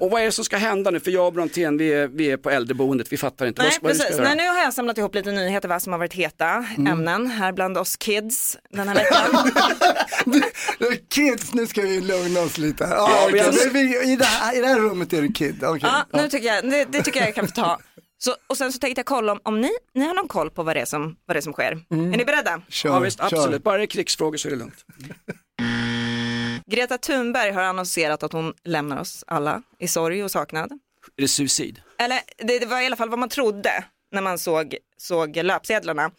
[SPEAKER 3] Och vad är det som ska hända nu? För jag och Brontén, vi är, vi är på äldreboendet, vi fattar inte.
[SPEAKER 6] Nej,
[SPEAKER 3] vad, vad är det vi ska
[SPEAKER 6] precis.
[SPEAKER 3] göra?
[SPEAKER 6] Nej, nu har jag samlat ihop lite nyheter vad som har varit heta ämnen här bland oss kids den här veckan.
[SPEAKER 2] Kids, nu ska vi lugna oss lite. här. Ja,
[SPEAKER 3] men jag-
[SPEAKER 2] okej, nu är vi, i, det här, I det här rummet är du kid. Okay.
[SPEAKER 6] Ja, nu tycker jag, det, det tycker jag jag kan få ta. Så, och sen så tänkte jag kolla om, om ni, ni har någon koll på vad det är som, vad det är som sker. Är ni beredda?
[SPEAKER 2] Kör,
[SPEAKER 3] Ja, visst,
[SPEAKER 2] kör.
[SPEAKER 3] absolut. Bara det är krigsfrågor så är det lugnt.
[SPEAKER 6] Greta Thunberg har annonserat att hon lämnar oss alla i sorg och saknad.
[SPEAKER 3] Är det suicid?
[SPEAKER 6] Eller det, det var i alla fall vad man trodde när man såg, såg löpsedlarna.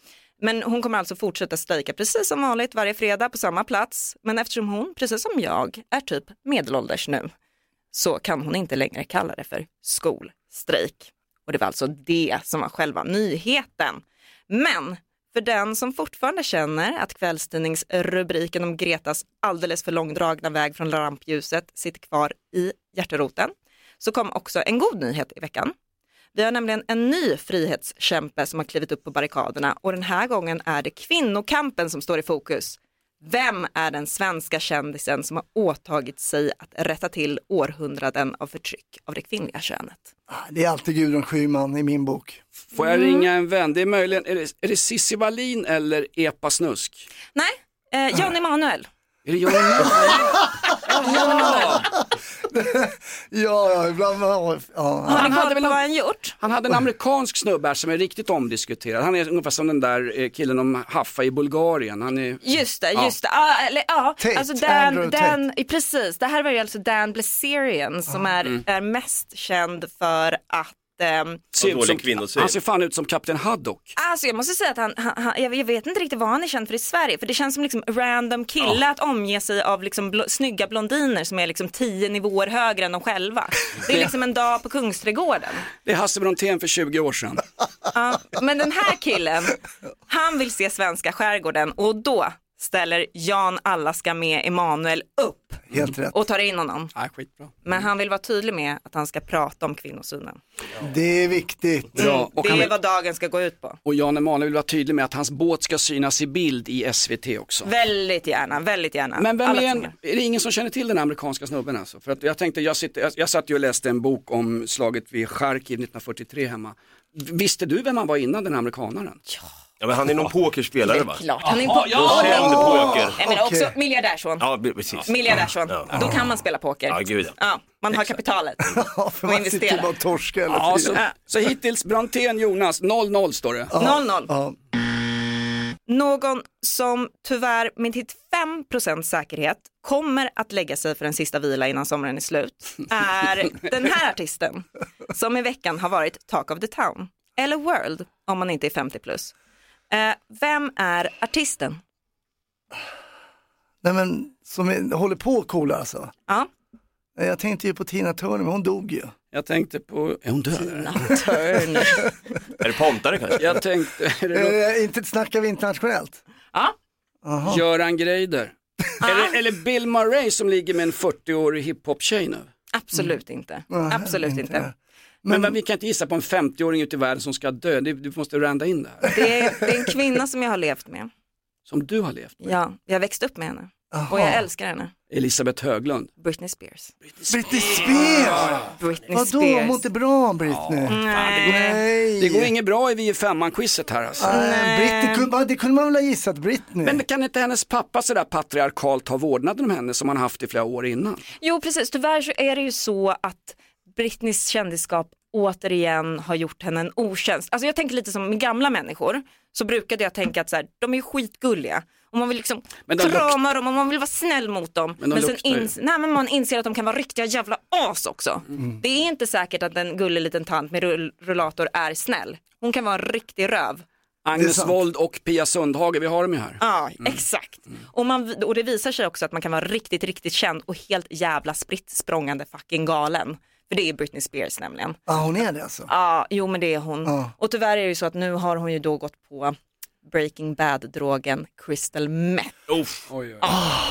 [SPEAKER 6] Men hon kommer alltså fortsätta strejka precis som vanligt varje fredag på samma plats. Men eftersom hon, precis som jag, är typ medelålders nu så kan hon inte längre kalla det för skolstrejk. Och det var alltså det som var själva nyheten. Men för den som fortfarande känner att kvällstidningsrubriken om Gretas alldeles för långdragna väg från rampljuset sitter kvar i hjärteroten så kom också en god nyhet i veckan. Vi har nämligen en ny frihetskämpe som har klivit upp på barrikaderna och den här gången är det kvinnokampen som står i fokus. Vem är den svenska kändisen som har åtagit sig att rätta till århundraden av förtryck av det kvinnliga könet?
[SPEAKER 2] Det är alltid Gudrun Schyman i min bok.
[SPEAKER 3] Får jag ringa en vän? Det är möjligen, är det, är det Cissi Wallin eller Epa Snusk?
[SPEAKER 6] Nej, eh, Jan Emanuel.
[SPEAKER 3] Är det Johnny Mö?
[SPEAKER 2] Ja, ja, ibland, ja, ja.
[SPEAKER 6] Har
[SPEAKER 3] Han
[SPEAKER 6] ni
[SPEAKER 3] hade
[SPEAKER 6] koll på
[SPEAKER 3] väl
[SPEAKER 6] vad
[SPEAKER 3] en-
[SPEAKER 6] han gjort?
[SPEAKER 3] Han hade en amerikansk snubbe här som är riktigt omdiskuterad. Han är ungefär som den där eh, killen om Haffa i Bulgarien. Han är...
[SPEAKER 6] Just det,
[SPEAKER 3] Ja.
[SPEAKER 6] just det. Ah, eller, ja.
[SPEAKER 2] Tate, Ah.
[SPEAKER 6] alltså Dan,
[SPEAKER 2] Andrew
[SPEAKER 6] Dan, precis, det här var ju alltså Dan Blazerian som är,
[SPEAKER 2] Mm.
[SPEAKER 6] är mest känd för att ehm,
[SPEAKER 3] ser ut
[SPEAKER 4] dålig
[SPEAKER 3] som-
[SPEAKER 4] kvinnosyn.
[SPEAKER 3] Han ser fan ut som Kapten Haddock.
[SPEAKER 6] Alltså jag måste säga att han, han, han jag jag vet inte riktigt vad han är känd för i Sverige för det känns som liksom random kille att omge sig av liksom bl- snygga blondiner som är liksom tio nivåer högre än de själva. Det är liksom en dag på Kungsträdgården.
[SPEAKER 3] Det är Hasse Brontén för 20 år sedan.
[SPEAKER 6] Ja, men den här killen, han vill se svenska skärgården och då ställer Jan Allaska med Emanuel upp
[SPEAKER 2] helt rätt.
[SPEAKER 6] och tar in honom.
[SPEAKER 3] Nej, skitbra.
[SPEAKER 6] Men han vill vara tydlig med att han ska prata om kvinnosynen.
[SPEAKER 2] Det är viktigt.
[SPEAKER 3] Bra. Och,
[SPEAKER 6] Mm, Det
[SPEAKER 3] han
[SPEAKER 6] är
[SPEAKER 3] vill,
[SPEAKER 6] vad dagen ska gå ut på.
[SPEAKER 3] och Jan Emanuel vill vara tydlig med att hans båt ska synas i bild i SVT också.
[SPEAKER 6] Väldigt gärna, väldigt gärna.
[SPEAKER 3] Men vem
[SPEAKER 6] Alla
[SPEAKER 3] är, en,
[SPEAKER 6] tidningar.
[SPEAKER 3] är det ingen som känner till den här amerikanska snubben alltså? För att jag tänkte, jag, sitter, jag, jag satt ju och läste en bok om slaget vid Charkiv 1943 hemma. V- Visste du vem han var innan den här amerikanaren?
[SPEAKER 4] Ja, men han är någon pokerspelare va?
[SPEAKER 6] Klart, han är på...
[SPEAKER 4] Känd poker.
[SPEAKER 6] Nej, men
[SPEAKER 2] Okej.
[SPEAKER 6] också miljardärsson.
[SPEAKER 4] Ja, b- precis.
[SPEAKER 6] Miljardärsson,
[SPEAKER 4] Ja.
[SPEAKER 6] då kan man spela poker.
[SPEAKER 4] Ja, gud, ja.
[SPEAKER 6] man har kapitalet
[SPEAKER 2] Ja, för
[SPEAKER 6] och
[SPEAKER 2] man sitter ju bara
[SPEAKER 6] investerar.
[SPEAKER 2] och torskar hela
[SPEAKER 3] Ja,
[SPEAKER 2] tiden.
[SPEAKER 3] så, så hittills Brontén Jonas, 0-0 står det.
[SPEAKER 6] 0-0.
[SPEAKER 2] Ja.
[SPEAKER 6] Någon som tyvärr med hit 5 säkerhet kommer att lägga sig för en sista vila innan sommaren är slut är den här artisten som i veckan har varit Talk of the Town eller World om man inte är 50 plus. Eh, vem är artisten?
[SPEAKER 2] Nej men, som är, håller på att coola alltså.
[SPEAKER 6] Ja,
[SPEAKER 2] Nej, Jag tänkte ju på Tina Turner, men hon dog ju.
[SPEAKER 3] Jag tänkte på, är hon död?
[SPEAKER 6] Turner.
[SPEAKER 4] Är det pontare kanske?
[SPEAKER 3] Jag tänkte, är det något-
[SPEAKER 2] Eh, inte snackar vi internationellt?
[SPEAKER 6] ja.
[SPEAKER 3] Göran Greider? Eller, eller Bill Murray som ligger med en 40-årig hiphop-tjej nu?
[SPEAKER 6] Absolut inte.
[SPEAKER 2] Nej,
[SPEAKER 6] Absolut
[SPEAKER 2] inte.
[SPEAKER 6] inte.
[SPEAKER 3] Men, men vi kan inte gissa på en 50-åring ute i världen som ska dö, Det- du måste randa in det här.
[SPEAKER 6] Det är, det är en kvinna som jag har levt med.
[SPEAKER 3] Som du har levt med,
[SPEAKER 6] Ja, jag växte upp med henne och jag
[SPEAKER 2] Jaha.
[SPEAKER 6] älskar henne.
[SPEAKER 3] Elisabeth Höglund.
[SPEAKER 6] Britney Spears.
[SPEAKER 2] Britney Spears!
[SPEAKER 6] Britney
[SPEAKER 2] Vadå,
[SPEAKER 6] Spears.
[SPEAKER 2] mår inte bra Britney?
[SPEAKER 6] Nej.
[SPEAKER 2] Nej.
[SPEAKER 3] Det går inget bra i Vi är femman-quizet här alltså.
[SPEAKER 2] Nej. Britney, kunde- va, det kunde man väl ha gissat Britney?
[SPEAKER 3] Men kan inte hennes pappa sådär patriarkalt ha vårdnaden om henne som han haft i flera år innan?
[SPEAKER 6] Jo precis, tyvärr så är det ju så att Britneys kändisskap återigen har gjort henne en otjänst. Alltså jag tänker lite som med gamla människor så brukade jag tänka att så här, de är ju skitgulliga Och man vill liksom
[SPEAKER 3] Men de
[SPEAKER 6] krama dem och man vill vara snäll mot dem.
[SPEAKER 3] Men
[SPEAKER 6] Men,
[SPEAKER 3] de
[SPEAKER 6] sen
[SPEAKER 3] luktar ju.
[SPEAKER 6] ins- Nej, men man inser att de kan vara riktiga jävla as också.
[SPEAKER 3] Mm.
[SPEAKER 6] Det är inte säkert att en gullig liten tant med rull- rullator är snäll. Hon kan vara en riktig röv.
[SPEAKER 3] Agnes Wold och Pia Sundhage, vi har dem ju här.
[SPEAKER 6] Ja, exakt. Och, man, och det visar sig också att man kan vara riktigt, riktigt känd och helt jävla spritt språngande fucking galen. För det är Britney Spears nämligen.
[SPEAKER 2] Ja, hon är det alltså.
[SPEAKER 6] Ja, jo men det är hon. Och tyvärr är det ju så att nu har hon ju då gått på Breaking Bad-drogen crystal meth.
[SPEAKER 4] Uff.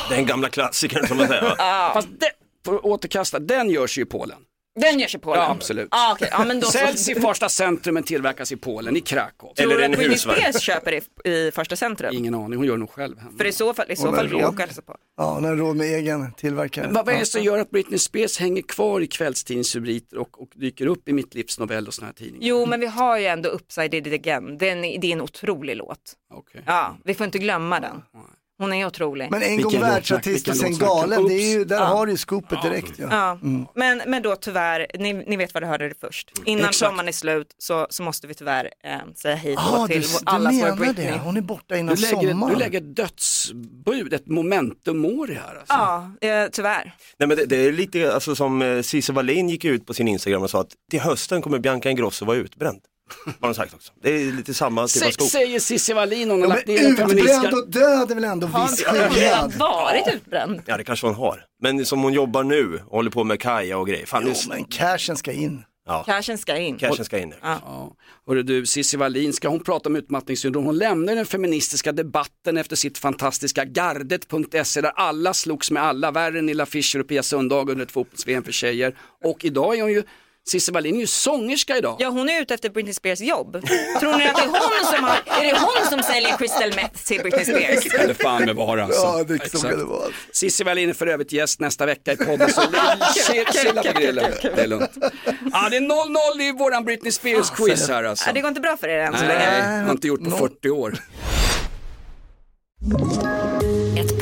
[SPEAKER 4] Den gamla klassikern som man säger. va?
[SPEAKER 3] Fast det, för att återkasta, den görs ju i Polen.
[SPEAKER 6] Den gör sig på
[SPEAKER 3] Ja,
[SPEAKER 6] den.
[SPEAKER 3] absolut.
[SPEAKER 6] Ja, okej. ja, men då så.
[SPEAKER 3] Säljs i första centrum men tillverkas i Polen, i Krakow.
[SPEAKER 6] Tror du att Britney Spears köper det i första centrum?
[SPEAKER 3] Ingen aning, hon gör nog själv hemma.
[SPEAKER 6] För i så fall, i så
[SPEAKER 2] Hon har
[SPEAKER 6] fall vill
[SPEAKER 2] råd.
[SPEAKER 6] jag också hälsa på.
[SPEAKER 2] Ja, hon har råd med egen tillverkare.
[SPEAKER 3] Vad, vad är
[SPEAKER 2] Ja.
[SPEAKER 3] det som gör att Britney Spears hänger kvar i kvällstidningsrubriker och, och dyker upp i Mitt livs novell och såna här tidningar?
[SPEAKER 6] Jo, men vi har ju ändå Upside It Again. Den, är- det är en otrolig låt.
[SPEAKER 3] Okej.
[SPEAKER 6] Ja, vi får inte glömma den. Hon är otrolig.
[SPEAKER 2] Men en
[SPEAKER 3] Vilken
[SPEAKER 2] gång
[SPEAKER 3] låt-
[SPEAKER 2] världsartist
[SPEAKER 3] vilken
[SPEAKER 2] och sen
[SPEAKER 3] låt snackar-
[SPEAKER 2] galen, det är ju, där
[SPEAKER 6] Oops.
[SPEAKER 2] har du ju scoopet direkt ju.
[SPEAKER 6] Ja, men, men då tyvärr, ni, ni vet vad du hörde det först. Innan
[SPEAKER 3] Exakt.
[SPEAKER 6] sommaren är slut så, så måste vi tyvärr eh, säga hej då
[SPEAKER 2] Ah,
[SPEAKER 6] till
[SPEAKER 2] du,
[SPEAKER 6] vår-
[SPEAKER 2] du
[SPEAKER 6] allas vår
[SPEAKER 2] menar
[SPEAKER 6] Britney.
[SPEAKER 2] det? Hon är borta
[SPEAKER 3] Du
[SPEAKER 2] innan
[SPEAKER 3] lägger, du
[SPEAKER 2] sommaren.
[SPEAKER 3] lägger dödsbud, ett momentum mori här alltså.
[SPEAKER 6] Ja, eh, tyvärr.
[SPEAKER 4] Nej men det, det är lite alltså, som eh, Cissi Wallin gick ut på sin Instagram och sa att till hösten kommer Bianca Ingrosso vara utbränd. Har hon sagt också. Det är lite samma typ av
[SPEAKER 3] Sä,
[SPEAKER 4] skog.
[SPEAKER 3] säger Cissi Wallin, hon har
[SPEAKER 2] Men
[SPEAKER 3] lagt ner den
[SPEAKER 2] utbränd
[SPEAKER 3] feministiska...
[SPEAKER 2] och död är väl ändå viss skillnad?
[SPEAKER 6] Varit utbränd.
[SPEAKER 4] Ja det kanske hon har. Men som hon jobbar nu och håller på med Kaja och grejer. Fan,
[SPEAKER 2] Jo,
[SPEAKER 4] nu,
[SPEAKER 2] men cashen ska in.
[SPEAKER 6] Cashen ska in.
[SPEAKER 4] cashen ska in nu.
[SPEAKER 3] Ja. Hörru du, Cissi Wallin, ska hon prata om utmattningssyndrom? Hon lämnar den feministiska debatten efter sitt fantastiska gardet.se där alla slogs med alla, värre än Nilla Fischer och Pia Sundhage under ett fotbolls-VM för tjejer. Och idag är hon ju, Cissi Wallin är ju sångerska idag.
[SPEAKER 6] Ja, hon är ute efter Britney Spears jobb. Tror ni att det är hon som, har, är det hon som säljer crystal meth till Britney Spears?
[SPEAKER 3] Kan det fan med vara alltså.
[SPEAKER 2] Ja, det så
[SPEAKER 3] Exakt.
[SPEAKER 2] kan det vara.
[SPEAKER 3] Cissi Wallin är för övrigt gäst nästa vecka i podden så chill- chilla på grillen. Det är lugnt. Ja, det är 0-0 i våran Britney Spears-quiz här alltså.
[SPEAKER 6] Ja, det går inte bra för er än så länge.
[SPEAKER 3] Nej, jag har inte gjort på 40 år.
[SPEAKER 9] Ett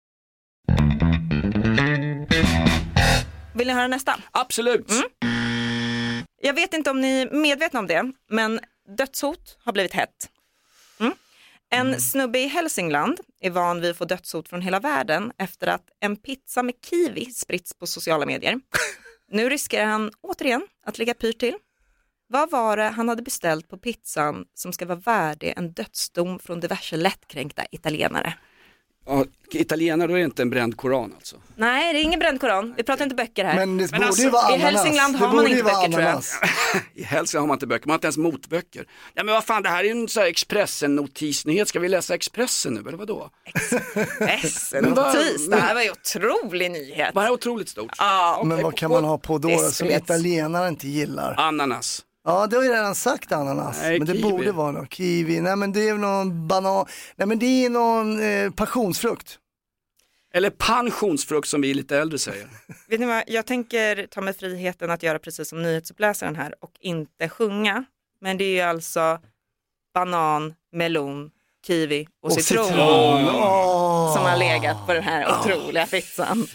[SPEAKER 6] Vill ni höra nästa?
[SPEAKER 3] Absolut.
[SPEAKER 6] Mm. Jag vet inte om ni är medvetna om det, men dödshot har blivit hett. Mm. En snubbe i Hälsingland är van vid att få dödshot från hela världen efter att en pizza med kiwi spritts på sociala medier. Nu riskerar han återigen att ligga pyrt till. Vad var det han hade beställt på pizzan som ska vara värdig en dödsdom från diverse lättkränkta italienare?
[SPEAKER 3] Ja, italienare, då är det inte en bränd koran alltså.
[SPEAKER 6] Nej, det är ingen bränd koran. Vi pratar inte böcker här.
[SPEAKER 2] Men det borde
[SPEAKER 3] alltså,
[SPEAKER 2] ju vara
[SPEAKER 6] i
[SPEAKER 2] ananas.
[SPEAKER 6] Hälsingland
[SPEAKER 2] Det
[SPEAKER 6] har man
[SPEAKER 2] borde
[SPEAKER 6] inte
[SPEAKER 2] ju vara
[SPEAKER 6] böcker, tror jag.
[SPEAKER 2] ananas.
[SPEAKER 3] I Hälsingland har man inte böcker, man har inte ens motböcker. Ja men vad fan, det här är ju en sån här Expressen-notisnyhet, ska vi läsa Expressen nu eller vadå?
[SPEAKER 6] Expressen
[SPEAKER 3] Men vad-
[SPEAKER 6] notis, det här var ju otrolig nyhet.
[SPEAKER 3] Det här är otroligt stort.
[SPEAKER 6] Ja,
[SPEAKER 2] Men vad kan man ha på då som
[SPEAKER 6] Desperat.
[SPEAKER 2] italienare inte gillar?
[SPEAKER 3] Ananas.
[SPEAKER 2] Ja, det har jag redan sagt ananas.
[SPEAKER 3] Nej,
[SPEAKER 2] men det
[SPEAKER 3] kiwi.
[SPEAKER 2] borde vara någon kiwi. Nej, men det är någon banan. Nej, men det är någon eh, passionsfrukt.
[SPEAKER 3] Eller pensionsfrukt som vi lite äldre säger.
[SPEAKER 6] Vet ni vad, jag tänker ta mig friheten att göra precis som nyhetsuppläsaren här och inte sjunga. Men det är ju alltså banan, melon, kiwi och, citron
[SPEAKER 2] Åh.
[SPEAKER 6] som har legat på den här otroliga pizzan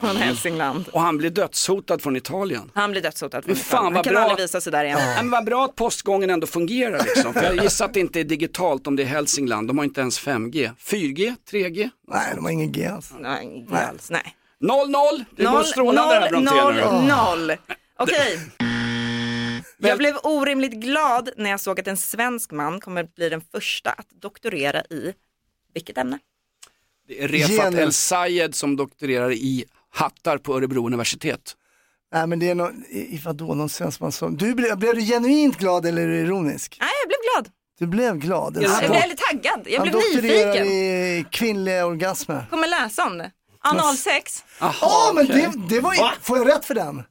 [SPEAKER 6] från Hälsingland.
[SPEAKER 3] Och han blir dödshotad från Italien.
[SPEAKER 6] Han blir dödshotad.
[SPEAKER 3] Men fan,
[SPEAKER 6] Han
[SPEAKER 3] vad
[SPEAKER 6] kan
[SPEAKER 3] bra.
[SPEAKER 6] aldrig visa sig där igen.
[SPEAKER 3] Ja, men vad bra att postgången ändå fungerar liksom. För jag gissar att det inte är digitalt om det är Hälsingland, de har inte ens 5G. 4G? 3G?
[SPEAKER 2] Nej, de har ingen G alltså. alls.
[SPEAKER 6] Nej, inte alls. Nej.
[SPEAKER 3] 0-0! Det går strålande här
[SPEAKER 6] noll,
[SPEAKER 3] Brontén.
[SPEAKER 6] noll. Okej. Jag blev orimligt glad när jag såg att en svensk man kommer bli den första att doktorera i vilket ämne?
[SPEAKER 3] Det är Refat
[SPEAKER 2] Genus.
[SPEAKER 3] El Sayed som doktorerar i hattar på Örebro universitet.
[SPEAKER 2] Nej, men det är någon, i, i vadå, någon svenskman som... Du, blev, blev du genuint glad eller är du ironisk?
[SPEAKER 6] Nej, jag blev glad.
[SPEAKER 2] Du blev glad.
[SPEAKER 6] Jag
[SPEAKER 2] Han
[SPEAKER 6] blev
[SPEAKER 2] dok-
[SPEAKER 6] väldigt taggad. Jag
[SPEAKER 2] han
[SPEAKER 6] blev
[SPEAKER 2] doktorerar
[SPEAKER 6] nyfiken.
[SPEAKER 2] i kvinnliga orgasmer.
[SPEAKER 6] Kommer läsa om det. Analsex.
[SPEAKER 2] Ja, men det, det var ju, får jag rätt för den?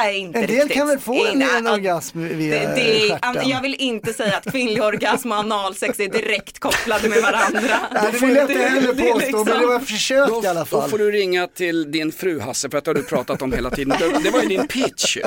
[SPEAKER 6] Nej, inte
[SPEAKER 2] En del
[SPEAKER 6] riktigt.
[SPEAKER 2] kan väl få en,
[SPEAKER 6] Nej, alltså,
[SPEAKER 2] en orgasm via
[SPEAKER 6] Det, det är,
[SPEAKER 2] stjärten?
[SPEAKER 6] jag vill inte säga att kvinnlig orgasm och analsex är direkt kopplade med varandra.
[SPEAKER 2] Nej, det vill jag inte heller
[SPEAKER 6] det liksom. är
[SPEAKER 2] påstå, men det var ett försök i alla
[SPEAKER 3] Då
[SPEAKER 2] fall.
[SPEAKER 3] får du ringa till din fru Hasse för att det har du pratat om hela tiden. Det- Det var ju din pitch ju.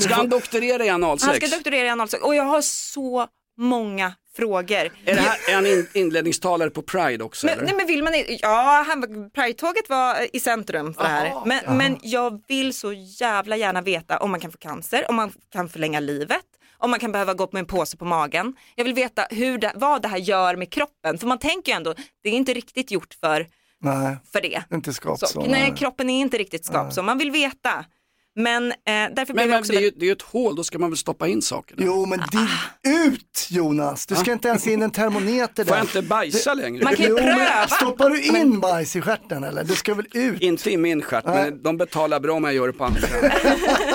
[SPEAKER 3] Ska han doktorera i
[SPEAKER 6] Han
[SPEAKER 3] analsex?
[SPEAKER 6] ska doktorera i analsex och jag har så många frågor.
[SPEAKER 3] Är, det här, är han in, inledningstalare på Pride också
[SPEAKER 6] Men,
[SPEAKER 3] eller?
[SPEAKER 6] nej men vill man i- ja, han- Pride-tåget var i centrum för det här.
[SPEAKER 3] Aha.
[SPEAKER 6] Men,
[SPEAKER 3] Aha.
[SPEAKER 6] men jag vill så jävla gärna veta om man kan få cancer, om man kan förlänga livet, om man kan behöva gå upp med en påse på magen. Jag vill veta hur det, vad det här gör med kroppen, för man tänker ju ändå, det är inte riktigt gjort för,
[SPEAKER 2] Nej,
[SPEAKER 6] för det.
[SPEAKER 2] inte skapt
[SPEAKER 6] Så,
[SPEAKER 2] så.
[SPEAKER 6] nej, kroppen är inte riktigt skapt så, man vill veta. Men eh, därför
[SPEAKER 3] Men,
[SPEAKER 6] blev jag
[SPEAKER 3] men
[SPEAKER 6] också
[SPEAKER 3] det, är ju, det är ju ett hål, då ska man väl stoppa in saker.
[SPEAKER 2] Jo, men din,
[SPEAKER 6] Ah.
[SPEAKER 2] ut Jonas! Du ska inte ens in en termometer där.
[SPEAKER 3] Får jag inte bajsa längre? Man kan ju
[SPEAKER 2] Jo, men
[SPEAKER 3] pröva.
[SPEAKER 2] Stoppar du in bajs i stjärten eller? Du ska väl ut?
[SPEAKER 3] Inte i min stjärt, men de betalar bra om jag gör det på andra.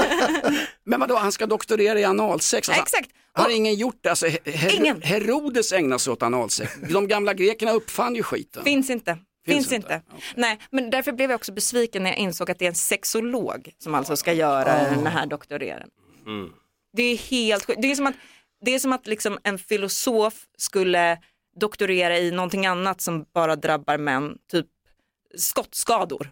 [SPEAKER 3] men vadå, han ska doktorera i analsex? Alltså,
[SPEAKER 6] Exakt.
[SPEAKER 3] Har ingen gjort det? Alltså, Her- Her-
[SPEAKER 6] Ingen.
[SPEAKER 3] Herodes ägnar sig åt analsex. De gamla grekerna uppfann ju skiten.
[SPEAKER 6] Finns inte. Finns,
[SPEAKER 3] Finns
[SPEAKER 6] inte. Nej, men därför blev jag också besviken när jag insåg att det är en sexolog som alltså ska göra
[SPEAKER 3] Ah.
[SPEAKER 6] den här doktoreren. Mm. Det är helt sjukt. Det är som att, det är som att liksom en filosof skulle doktorera i någonting annat som bara drabbar män, typ skottskador.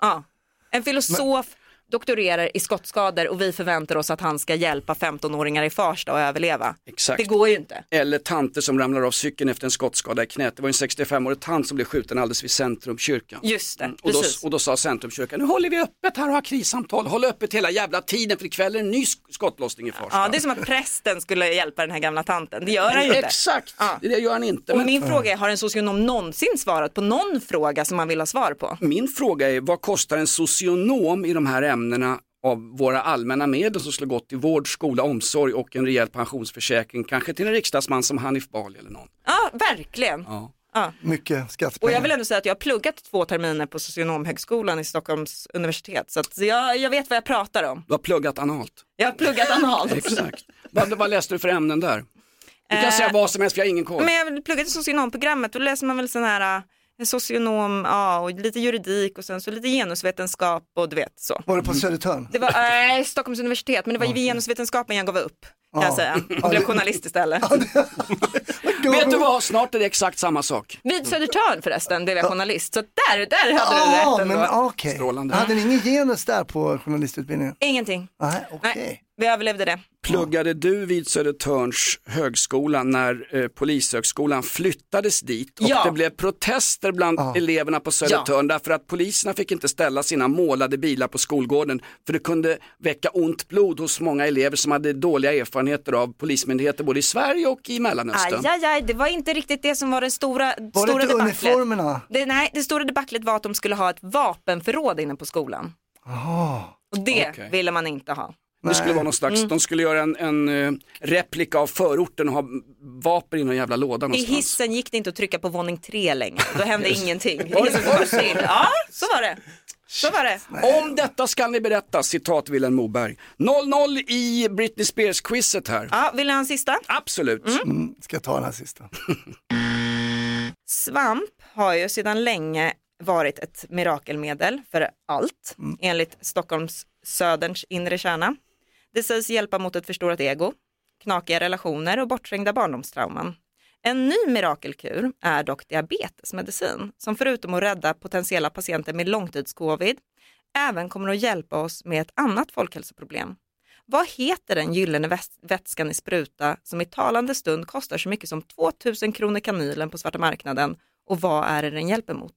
[SPEAKER 6] Ja. En filosof doktorerar i skottskador och vi förväntar oss att han ska hjälpa 15-åringar i Farsta att överleva.
[SPEAKER 3] Exakt.
[SPEAKER 6] Det går ju inte.
[SPEAKER 3] Eller tanter som ramlar av cykeln efter en skottskada i knät. Det var en 65-årig tant som blev skjuten alldeles vid Centrumkyrkan.
[SPEAKER 6] Just det,
[SPEAKER 3] Mm, och, då,
[SPEAKER 6] precis.
[SPEAKER 3] och då sa Centrumkyrkan, nu håller vi öppet här och har krissamtal, håll öppet hela jävla tiden för ikväll är det en ny sk- skottlossning i Farsta.
[SPEAKER 6] Ja, det är som att prästen skulle hjälpa den här gamla tanten. Det gör han ju inte.
[SPEAKER 3] Exakt, det gör han inte.
[SPEAKER 6] Och
[SPEAKER 3] men-
[SPEAKER 6] min fråga är, har en socionom någonsin svarat på någon fråga som man vill ha svar på?
[SPEAKER 3] Min fråga är, vad kostar en socionom i de här ämnena av våra allmänna medel som skulle gått till vård, skola, omsorg och en rejäl pensionsförsäkring, kanske till en riksdagsman som Hanif Bali eller någon.
[SPEAKER 6] Ja, verkligen.
[SPEAKER 3] Ja.
[SPEAKER 6] Ja.
[SPEAKER 2] Mycket
[SPEAKER 6] Och jag
[SPEAKER 2] skattepengar.
[SPEAKER 6] vill ändå säga att jag har pluggat två terminer på socionomhögskolan i Stockholms universitet, så att jag, jag vet vad jag pratar om.
[SPEAKER 3] Du har pluggat analt.
[SPEAKER 6] Jag har pluggat analt.
[SPEAKER 3] Exakt. Vad, vad läste du för ämnen där? Du kan
[SPEAKER 6] Eh,
[SPEAKER 3] säga vad som helst, vi har ingen koll.
[SPEAKER 6] Men jag pluggade socionomprogrammet, då läser man väl sån här eh, socionom, ja, och lite juridik och sen så lite genusvetenskap och du vet så.
[SPEAKER 2] Var det på Södertörn?
[SPEAKER 6] Det var nej, Stockholms universitet, men det var ju genusvetenskapen jag gav upp. Kan jag
[SPEAKER 2] Ja.
[SPEAKER 6] säga. Och blev journalist istället.
[SPEAKER 3] Vet du vad, snart är det exakt samma sak.
[SPEAKER 6] Vid Södertörn förresten blev jag journalist, så där, där hade du rätt
[SPEAKER 2] men
[SPEAKER 6] ändå.
[SPEAKER 2] okej.
[SPEAKER 3] Strålande.
[SPEAKER 2] Hade ni ingen genus där på journalistutbildningen?
[SPEAKER 6] Ingenting.
[SPEAKER 2] Nej, okej.
[SPEAKER 6] Vi överlevde det.
[SPEAKER 3] Pluggade du vid Södertörns högskola när eh, Polishögskolan flyttades dit och
[SPEAKER 6] Ja.
[SPEAKER 3] det blev protester bland eleverna på Södertörn därför att poliserna fick inte ställa sina målade bilar på skolgården för det kunde väcka ont blod hos många elever som hade dåliga erfarenheter av polismyndigheter både i Sverige och i Mellanöstern.
[SPEAKER 6] Aj, aj, aj, det var inte riktigt det som var det stora,
[SPEAKER 2] Var det
[SPEAKER 6] stora
[SPEAKER 2] inte
[SPEAKER 6] debaclet.
[SPEAKER 2] uniformerna?
[SPEAKER 6] Det, nej, det stora debaclet var att de skulle ha ett vapenförråd inne på skolan.
[SPEAKER 2] Jaha.
[SPEAKER 6] Och det
[SPEAKER 3] Okej.
[SPEAKER 6] ville man inte ha.
[SPEAKER 3] Det skulle vara någon slags,
[SPEAKER 6] Mm.
[SPEAKER 3] de skulle göra en, en eh, replika av förorten och ha vapen i någon jävla låda
[SPEAKER 6] I
[SPEAKER 3] någonstans.
[SPEAKER 6] hissen gick det inte att trycka på våning tre längre, då hände ingenting.
[SPEAKER 3] Var det-
[SPEAKER 6] Hissen stod still. Ja, så var det. Så var det.
[SPEAKER 3] Om detta ska ni berätta, citat Vilhelm Moberg. 0-0 i Britney Spears-quizet här.
[SPEAKER 6] Ja, vill ni ha en sista?
[SPEAKER 3] Absolut.
[SPEAKER 2] Mm, ska jag ta den här sista?
[SPEAKER 6] Svamp har ju sedan länge varit ett mirakelmedel för allt,
[SPEAKER 2] Mm.
[SPEAKER 6] enligt Stockholms söderns inre kärna. Det sägs hjälpa mot ett förstorat ego, knakiga relationer och bortträngda barndomstrauman. En ny mirakelkur är dock diabetesmedicin som förutom att rädda potentiella patienter med långtidscovid även kommer att hjälpa oss med ett annat folkhälsoproblem. Vad heter den gyllene väs- vätskan i spruta som i talande stund kostar så mycket som 2000 kronor kanylen på svarta marknaden och vad är det den hjälper mot?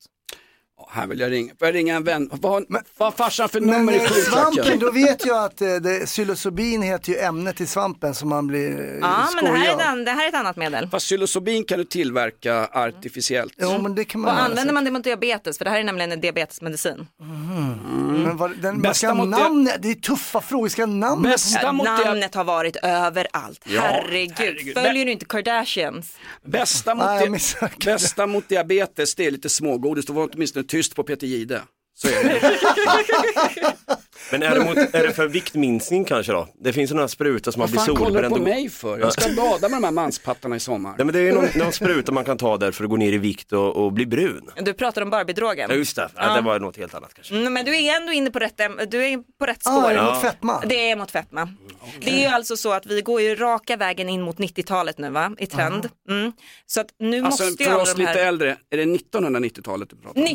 [SPEAKER 3] Här vill jag ringa, får jag ringa en vän? Vad har vad har farsan för
[SPEAKER 2] Men
[SPEAKER 3] nummer i
[SPEAKER 2] eh, svampen,
[SPEAKER 3] sjuklacken?
[SPEAKER 2] då vet jag att eh, det, psilocybin heter ju ämnet i svampen som man blir eh,
[SPEAKER 3] Mm,
[SPEAKER 6] Ja, men det här, är
[SPEAKER 2] skojig av.
[SPEAKER 6] den, det här är ett annat medel.
[SPEAKER 3] Fast psilocybin kan du tillverka artificiellt.
[SPEAKER 2] Jo, men det kan
[SPEAKER 6] Och
[SPEAKER 2] man göra
[SPEAKER 6] använder
[SPEAKER 2] säkert.
[SPEAKER 6] man det mot diabetes? För det här är nämligen en diabetesmedicin.
[SPEAKER 2] Men Mm, vad, den, man
[SPEAKER 3] Bästa
[SPEAKER 2] ska
[SPEAKER 3] mot det-
[SPEAKER 2] namnet, det är tuffa frågor, ska namnet
[SPEAKER 3] Bästa mot dia-
[SPEAKER 6] Namnet har varit överallt.
[SPEAKER 3] Ja,
[SPEAKER 6] herregud.
[SPEAKER 3] herregud.
[SPEAKER 6] Följer du inte Kardashians?
[SPEAKER 3] Bästa mot,
[SPEAKER 2] Nej, jag
[SPEAKER 3] dia-
[SPEAKER 2] missade.
[SPEAKER 3] bästa mot diabetes, det är lite smågodis. Då var åtminstone tyst på Peter Gide. Så är det.
[SPEAKER 4] Men är det, mot, är det för viktminskning kanske då? Det finns ju några sprutor som man
[SPEAKER 3] Vad
[SPEAKER 4] blir
[SPEAKER 3] fan kollar du
[SPEAKER 4] solbränd
[SPEAKER 3] på
[SPEAKER 4] och-
[SPEAKER 3] mig för? Jag ska bada med de här manspattarna i sommar.
[SPEAKER 4] Nej men det är ju någon, någon spruta man kan ta där för att gå ner i vikt och, och bli brun.
[SPEAKER 6] Du pratar om Barbie-drogen.
[SPEAKER 4] Ja just det, ja, det var något helt annat kanske.
[SPEAKER 6] Mm, men du är ändå inne på rätt, äm- du är på rätt
[SPEAKER 4] Ah,
[SPEAKER 6] spår.
[SPEAKER 4] är det mot
[SPEAKER 2] fetma?
[SPEAKER 6] Det är mot fetma. Det är ju alltså så att vi går ju raka vägen in mot 90-talet nu va, i trend. Mm. Så att nu
[SPEAKER 3] Alltså
[SPEAKER 6] måste ju
[SPEAKER 3] för
[SPEAKER 6] alla
[SPEAKER 3] oss
[SPEAKER 6] de här...
[SPEAKER 3] lite äldre, är det 1990-talet du pratar om?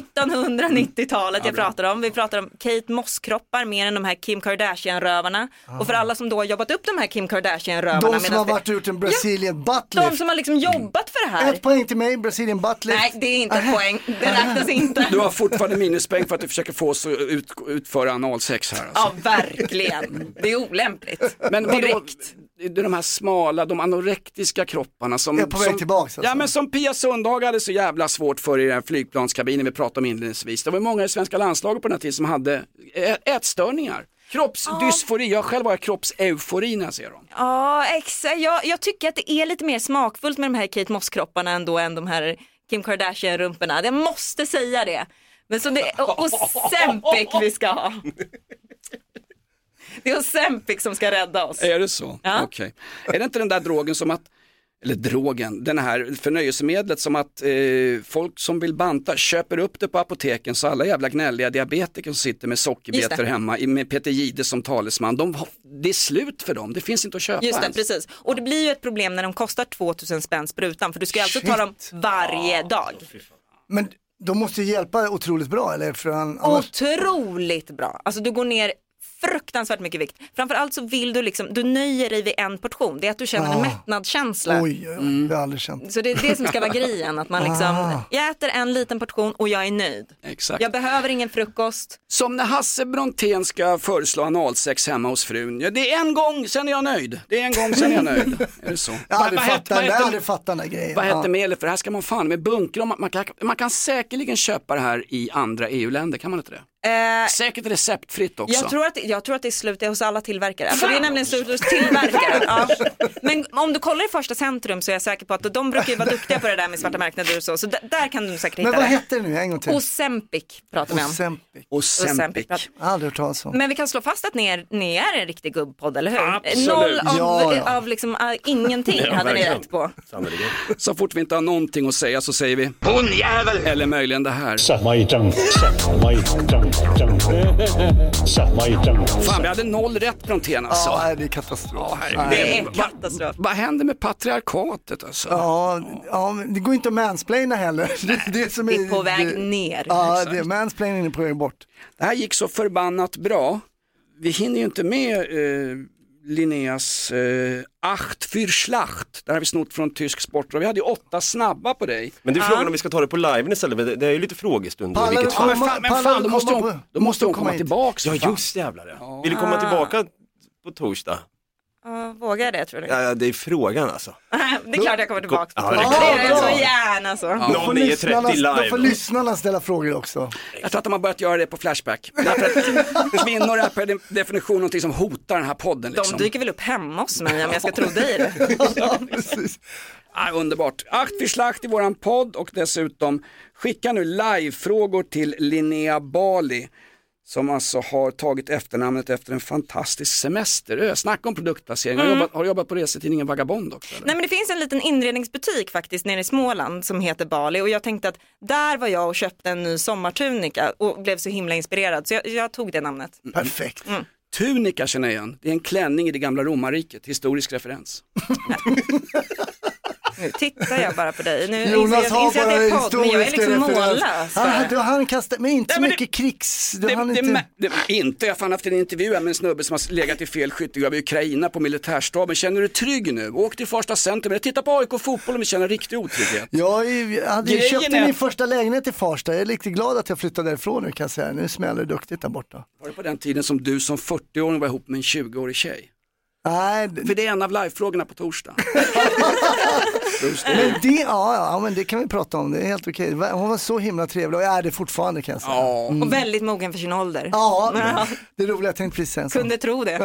[SPEAKER 6] 1990-talet
[SPEAKER 3] Ja,
[SPEAKER 6] jag
[SPEAKER 3] bra.
[SPEAKER 6] pratar om. Vi pratar om Kate Moss-kroppar mer än de här Kim Kardashian-rövarna. Och för alla som då har jobbat upp de här Kim Kardashian-rövarna.
[SPEAKER 2] Ah. De som
[SPEAKER 6] medan
[SPEAKER 2] har
[SPEAKER 6] det-
[SPEAKER 2] varit Mm. och gjort en Brazilian buttlift.
[SPEAKER 6] de som har liksom jobbat för det här.
[SPEAKER 2] Ett poäng till mig, Brazilian buttlift.
[SPEAKER 6] Nej, det är inte ett poäng. Det räknas inte.
[SPEAKER 3] Du har fortfarande minuspoäng för att du försöker få oss att ut, utföra analsex här. Alltså.
[SPEAKER 6] Ja, verkligen. Det är olämpligt.
[SPEAKER 3] Men vadå,
[SPEAKER 6] Direkt.
[SPEAKER 3] det är de här smala, de anorektiska kropparna som...
[SPEAKER 2] Är på väg
[SPEAKER 3] som,
[SPEAKER 2] tillbaks, alltså.
[SPEAKER 3] Ja men som Pia Sundhage hade så jävla svårt för i den här flygplanskabinen vi pratade om inledningsvis. Det var ju många i svenska landslaget på den här tiden som hade ä- ätstörningar. Kroppsdysfori, jag själv har jag kroppseufori när jag ser dem.
[SPEAKER 6] Ja, exakt. Jag, jag tycker att det är lite mer smakfullt med de här Kate Moss-kropparna ändå än de här Kim Kardashian-rumporna. Jag måste säga det. Men så det och Ozempic vi ska ha. Det är Ozempic som ska rädda oss.
[SPEAKER 3] Är det så?
[SPEAKER 6] Ja.
[SPEAKER 3] Okej. Är det inte den där drogen som att, eller drogen, den här förnöjelsemedlet som att eh, folk som vill banta köper upp det på apoteken så alla jävla gnälliga diabetiker som sitter med
[SPEAKER 6] Just
[SPEAKER 3] sockerbetor
[SPEAKER 6] det.
[SPEAKER 3] hemma i- med Peter Jihde som talesman, de, har- det är slut för dem, det finns inte att köpa
[SPEAKER 6] Just det,
[SPEAKER 3] ens.
[SPEAKER 6] precis. Och det blir ju ett problem när de kostar 2000 spänn sprutan för du ska ju alltså ta dem varje dag.
[SPEAKER 2] Men de måste ju hjälpa otroligt bra eller? För han, annars...
[SPEAKER 6] Otroligt bra. Alltså du går ner fruktansvärt mycket vikt. Framförallt så vill du liksom, du nöjer dig vid en portion. Det är att du känner en
[SPEAKER 2] Ah.
[SPEAKER 6] mättnadskänsla.
[SPEAKER 2] Oj, oj, oj. det har jag aldrig känt.
[SPEAKER 6] Mm. Så det är det som ska vara grejen, att man liksom,
[SPEAKER 2] Ah.
[SPEAKER 6] jag äter en liten portion och jag är nöjd.
[SPEAKER 3] Exakt.
[SPEAKER 6] Jag behöver ingen frukost.
[SPEAKER 3] Som när Hasse Brontén ska föreslå analsex hemma hos frun. Ja, det är en gång, sen är jag nöjd. Det är en gång, sen är jag nöjd. Är det så?
[SPEAKER 2] Jag har aldrig
[SPEAKER 3] Vad- vad
[SPEAKER 2] fattat,
[SPEAKER 3] hette- vad
[SPEAKER 2] jag har
[SPEAKER 3] hette-
[SPEAKER 2] aldrig fattat den där grejen.
[SPEAKER 3] Vad hette
[SPEAKER 2] ja.
[SPEAKER 3] medlet för det här ska man fan med bunkra. Man, man, kan, man kan säkerligen köpa det här i andra EU-länder, kan man inte det?
[SPEAKER 6] Eh,
[SPEAKER 3] Säkert receptfritt också.
[SPEAKER 6] jag tror, att, jag tror att det är slut hos alla tillverkare. Alltså, det är nämligen slut hos tillverkare. Ja. Men om du kollar i första centrum så är jag säker på att de brukar ju vara duktiga på det där med svarta marknader och så. Så d- där kan du säkert hitta
[SPEAKER 2] Men vad
[SPEAKER 6] det.
[SPEAKER 2] hette det nu en gång till?
[SPEAKER 6] Ozempic pratar vi om.
[SPEAKER 2] Ozempic.
[SPEAKER 6] Ozempic.
[SPEAKER 2] Aldrig hört talas om.
[SPEAKER 6] Men vi kan slå fast att ni är, ni är en riktig gubbpodd, eller hur?
[SPEAKER 3] Absolut.
[SPEAKER 6] Noll av,
[SPEAKER 3] Ja, ja.
[SPEAKER 6] av liksom, äh, ingenting
[SPEAKER 3] Ja,
[SPEAKER 6] hade ni
[SPEAKER 3] verkligen.
[SPEAKER 6] rätt på.
[SPEAKER 3] Så fort vi inte har någonting att säga så säger vi Hon jävel! Eller möjligen det här. Fan, vi hade noll rätt Brontén alltså.
[SPEAKER 2] Ja, nej, det är katastrof.
[SPEAKER 3] Det är
[SPEAKER 6] katastrof.
[SPEAKER 3] Vad händer med patriarkatet alltså?
[SPEAKER 2] Ja, ja, men det går inte att mansplaina heller. Det, är det, som
[SPEAKER 3] Det är på väg
[SPEAKER 6] ner.
[SPEAKER 2] Ja,
[SPEAKER 3] Exakt.
[SPEAKER 2] det, mansplaining är på väg bort.
[SPEAKER 3] Det här gick så förbannat bra. Vi hinner ju inte med eh, Linneas eh, Acht für Schlacht. Det här har vi snott från tysk sport. Och vi hade ju åtta snabba på dig.
[SPEAKER 4] Men det är frågan om vi ska ta det på liven istället, men det- det är ju lite frågestund.
[SPEAKER 3] Pallar
[SPEAKER 4] vilket
[SPEAKER 3] du
[SPEAKER 4] fall.
[SPEAKER 3] komma- Men fan- men pallar fan, du då måste komma hon- på- då måste hon komma
[SPEAKER 4] hit.
[SPEAKER 3] tillbaks,
[SPEAKER 4] Ja
[SPEAKER 3] fan.
[SPEAKER 4] just jävlar det. Vill du
[SPEAKER 6] Ah.
[SPEAKER 4] komma tillbaka på torsdag?
[SPEAKER 6] Ja, vågar jag det tror du?
[SPEAKER 4] Ja, ja, det är frågan alltså.
[SPEAKER 6] Det är klart jag kommer tillbaka.
[SPEAKER 4] Ja,
[SPEAKER 6] det
[SPEAKER 4] det är
[SPEAKER 6] gör jag
[SPEAKER 4] klart.
[SPEAKER 6] så gärna så.
[SPEAKER 4] Ja. 09.30
[SPEAKER 2] lyssnarna- Då
[SPEAKER 4] live.
[SPEAKER 2] får lyssnarna ställa frågor också.
[SPEAKER 3] Jag tror att de har börjat göra det på Flashback. Därför att kvinnor är per de- definition någonting som hotar den här podden. Liksom.
[SPEAKER 6] De dyker väl upp hemma hos mig om jag ska tro dig. det.
[SPEAKER 3] Ah, underbart. Acht för slakt i våran podd och dessutom skicka nu live-frågor till Linnea Bali som alltså har tagit efternamnet efter en fantastisk semesterö. Snacka om produktplacering. Har, du
[SPEAKER 6] Mm.
[SPEAKER 3] jobbat, har du jobbat på resetidningen Vagabond också? Eller?
[SPEAKER 6] Nej men det finns en liten inredningsbutik faktiskt nere i Småland som heter Bali och jag tänkte att där var jag och köpte en ny sommartunika och blev så himla inspirerad så jag, jag tog det namnet.
[SPEAKER 2] Perfekt.
[SPEAKER 6] Mm.
[SPEAKER 3] Tunika känner jag igen. Det är en klänning i det gamla romarriket. Historisk referens.
[SPEAKER 6] Nu tittar jag bara på dig. Nu
[SPEAKER 2] Jonas
[SPEAKER 6] inser jag,
[SPEAKER 2] har
[SPEAKER 6] inser jag att
[SPEAKER 2] bara
[SPEAKER 6] det är podd men jag är
[SPEAKER 2] historiska
[SPEAKER 6] liksom
[SPEAKER 2] referens.
[SPEAKER 6] mållös.
[SPEAKER 2] Han,
[SPEAKER 6] bara.
[SPEAKER 2] hade- han kastade, men inte så mycket krigs... Det,
[SPEAKER 3] Det,
[SPEAKER 2] han
[SPEAKER 3] det,
[SPEAKER 2] inte...
[SPEAKER 3] mä- det, inte, jag har fan haft en intervju här med en snubbe som har legat i fel skyttegrav i Ukraina på militärstaben. Känner du dig trygg nu? Åk till Farsta centrum, eller titta på AIK fotboll om du känner riktig otrygghet.
[SPEAKER 2] Jag är- jag hade ju
[SPEAKER 3] Grejen
[SPEAKER 2] köpt
[SPEAKER 3] är-
[SPEAKER 2] min första lägenhet i Farsta. Jag är riktigt glad att jag flyttade därifrån nu kan jag säga. Nu smäller det duktigt där borta.
[SPEAKER 3] Var det på den tiden som du som 40-åring var ihop med en 20-årig tjej?
[SPEAKER 2] Nej,
[SPEAKER 3] För det är en av livefrågorna på torsdag.
[SPEAKER 2] men det, ja, ja, men det kan vi prata om. Det är helt okej. Va- Hon var så himla trevlig och är det fortfarande kan jag säga. Mm.
[SPEAKER 6] Och väldigt mogen för sin ålder.
[SPEAKER 2] Ja, det roliga jag tänkte precis säga en sak.
[SPEAKER 6] Kunde tro det.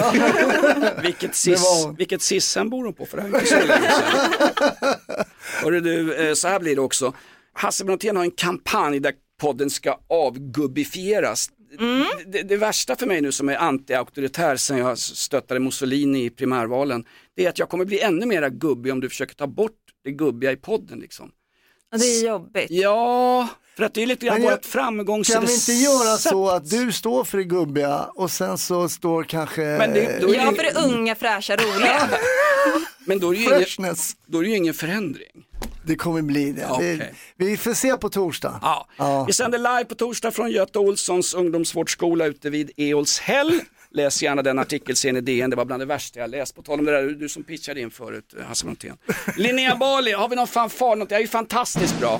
[SPEAKER 3] Vilket,
[SPEAKER 2] Det var
[SPEAKER 3] sis,
[SPEAKER 2] hon.
[SPEAKER 3] vilket sissen bor hon på för det här är inte så länge sedan. Hörru du, eh, så här blir det också. Hasse Brontén har en kampanj där podden ska avgubbifieras.
[SPEAKER 6] Mm.
[SPEAKER 3] det, det värsta för mig nu som är anti-auktoritär sen jag stöttade Mussolini i primärvalen, det är att jag kommer bli ännu mera gubbig om du försöker ta bort det gubbiga i podden liksom.
[SPEAKER 6] Ja, Det är jobbigt.
[SPEAKER 3] Ja, för att det är lite grann
[SPEAKER 6] Men jag-
[SPEAKER 3] vårt framgångsrecept.
[SPEAKER 2] Kan vi inte göra så att du står för det gubbiga och sen så står kanske...
[SPEAKER 3] Men det- då är
[SPEAKER 6] Ja, för det unga, fräscha, roliga.
[SPEAKER 3] Men då är det ju ingen,
[SPEAKER 2] Freshness.
[SPEAKER 3] då är det ju ingen förändring.
[SPEAKER 2] Det kommer bli det.
[SPEAKER 3] Okej.
[SPEAKER 2] Det- Vi får se på torsdag.
[SPEAKER 3] Ja. Vi sänder live på torsdag från Göta Olssons ungdomsvårdsskola ute vid Eolshäll. Läs gärna den artikelserien i DN, det var bland det värsta jag läst. På tal om det där, du som pitchade in förut, eh, Hasse Brontén. Linnea Bali, har vi någon fanfar? Något? Det är ju fantastiskt bra.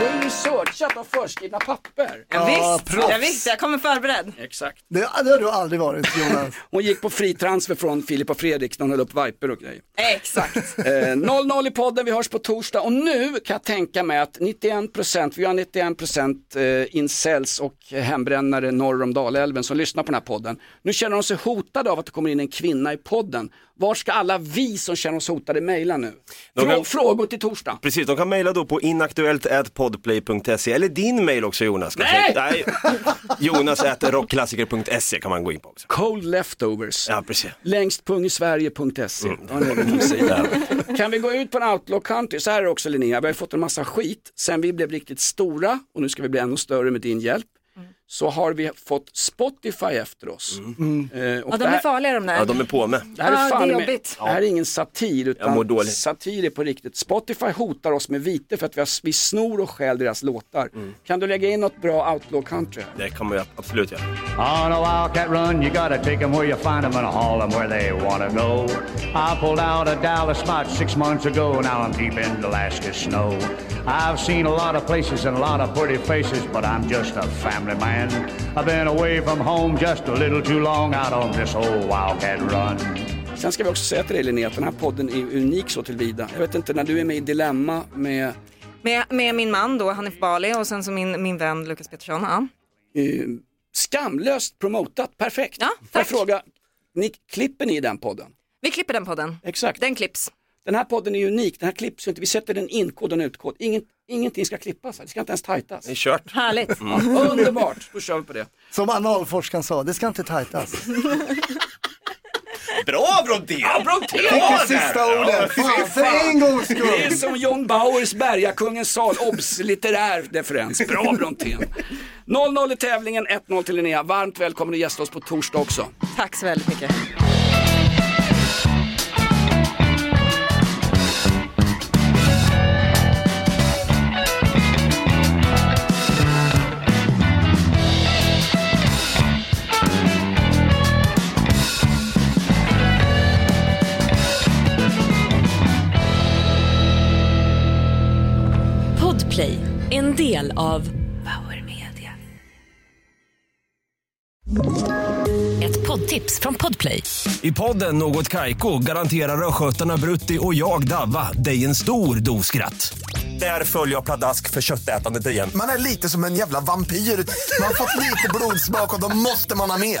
[SPEAKER 3] Du har ju searchat av förskrivna papper.
[SPEAKER 6] Ja, visst, jag visste, jag kommer förberedd.
[SPEAKER 3] Exakt.
[SPEAKER 2] Det, det har du aldrig varit Jonas.
[SPEAKER 3] Hon gick på fri transfer från Filip och Fredrik när hon höll upp viper och grejer.
[SPEAKER 6] Exakt.
[SPEAKER 3] Eh, 00 i podden, vi hörs på torsdag och nu kan jag tänka mig att 91%, vi har 91% eh, incels och hembrännare norr om Dalälven som lyssnar på den här podden. Nu känner de sig hotade av att det kommer in en kvinna i podden. Var ska alla vi som känner oss hotade mejla nu?
[SPEAKER 4] De
[SPEAKER 3] Frå-
[SPEAKER 4] kan-
[SPEAKER 3] Frågor till torsdag.
[SPEAKER 4] Precis, de kan mejla då på inaktuellt.podplay.se eller din mejl också Jonas. kanske. Nej! Jonas at rockklassiker.se kan man gå in på också.
[SPEAKER 3] Cold leftovers.
[SPEAKER 4] Ja, precis.
[SPEAKER 3] Längst pung i Sverige.se.
[SPEAKER 4] Mm.
[SPEAKER 3] E. Det var en egen hemsida. Kan vi gå ut på en outlaw country? Så här är det också Linnea, vi har ju fått en massa skit sen vi blev riktigt stora och nu ska vi bli ännu större med din hjälp.
[SPEAKER 6] Mm.
[SPEAKER 3] Så har vi fått Spotify efter oss.
[SPEAKER 4] Mm.
[SPEAKER 3] Eh, och
[SPEAKER 6] Ja, de
[SPEAKER 3] det
[SPEAKER 6] är
[SPEAKER 3] här-
[SPEAKER 6] farliga de där.
[SPEAKER 4] Ja, de är på med.
[SPEAKER 3] Det här är,
[SPEAKER 6] Ja,
[SPEAKER 3] fan
[SPEAKER 6] det är
[SPEAKER 3] med-
[SPEAKER 6] jobbigt.
[SPEAKER 3] det här är ingen satir
[SPEAKER 4] Jag mår
[SPEAKER 3] utan
[SPEAKER 4] dåligt.
[SPEAKER 3] satir är på riktigt. Spotify hotar oss med vite för att vi, har, vi snor och stjäl deras låtar.
[SPEAKER 4] Mm.
[SPEAKER 3] Kan du lägga in något bra outlaw country? här?
[SPEAKER 4] Det kommer jag absolut göra.
[SPEAKER 10] On a wildcat run, you gotta take 'em where you find 'em and haul 'em where they wanna go. I pulled out of Dallas about six months ago, now I'm deep in Alaska snow. I've seen a lot of places and a lot of pretty faces, but I'm just a family man. I've been away from home just a little too long out on this old wildcat run.
[SPEAKER 3] Sen ska vi också säga till dig Linnea att den här podden är unik så tillvida. Jag vet inte, när du är med i Dilemma med
[SPEAKER 6] Med, med min man då, Hanif Bali och sen så min, min vän Lukas Pettersson. Ja.
[SPEAKER 3] eh, skamlöst promotat, perfekt. Ja, Får jag fråga, ni, klipper ni den podden?
[SPEAKER 6] Vi klipper den podden.
[SPEAKER 3] Exakt.
[SPEAKER 6] Den klipps.
[SPEAKER 3] Den här podden är unik, den här klipps ju inte, vi sätter den inkod och en utkod. Ingen, ingenting ska klippas, här. det ska inte ens tajtas.
[SPEAKER 4] Det är kört.
[SPEAKER 6] Härligt.
[SPEAKER 3] Ja, underbart, då kör vi på det.
[SPEAKER 2] Som analforskaren sa, det ska inte tajtas.
[SPEAKER 4] Bra Brontén!
[SPEAKER 3] Ja, Brontén!
[SPEAKER 2] Fick det sista ordet. Fan, för en gångs skull.
[SPEAKER 3] Det är som John Bauers Bergakungens sal, obs, litterär deferens. Bra Brontén. 0-0 i tävlingen, 1-0 till Linnea. Varmt välkommen att gästa oss på torsdag också.
[SPEAKER 6] Tack så väldigt mycket.
[SPEAKER 9] Podplay, en del av Power Media. Ett poddtips från Podplay.
[SPEAKER 11] I podden Något Kaiko garanterar östgötarna Brutti och jag, Davva, dig en stor dos skratt. Där följer jag pladask för köttätandet igen.
[SPEAKER 12] Man är lite som en jävla vampyr. Man har fått lite blodsmak och då måste man ha mer.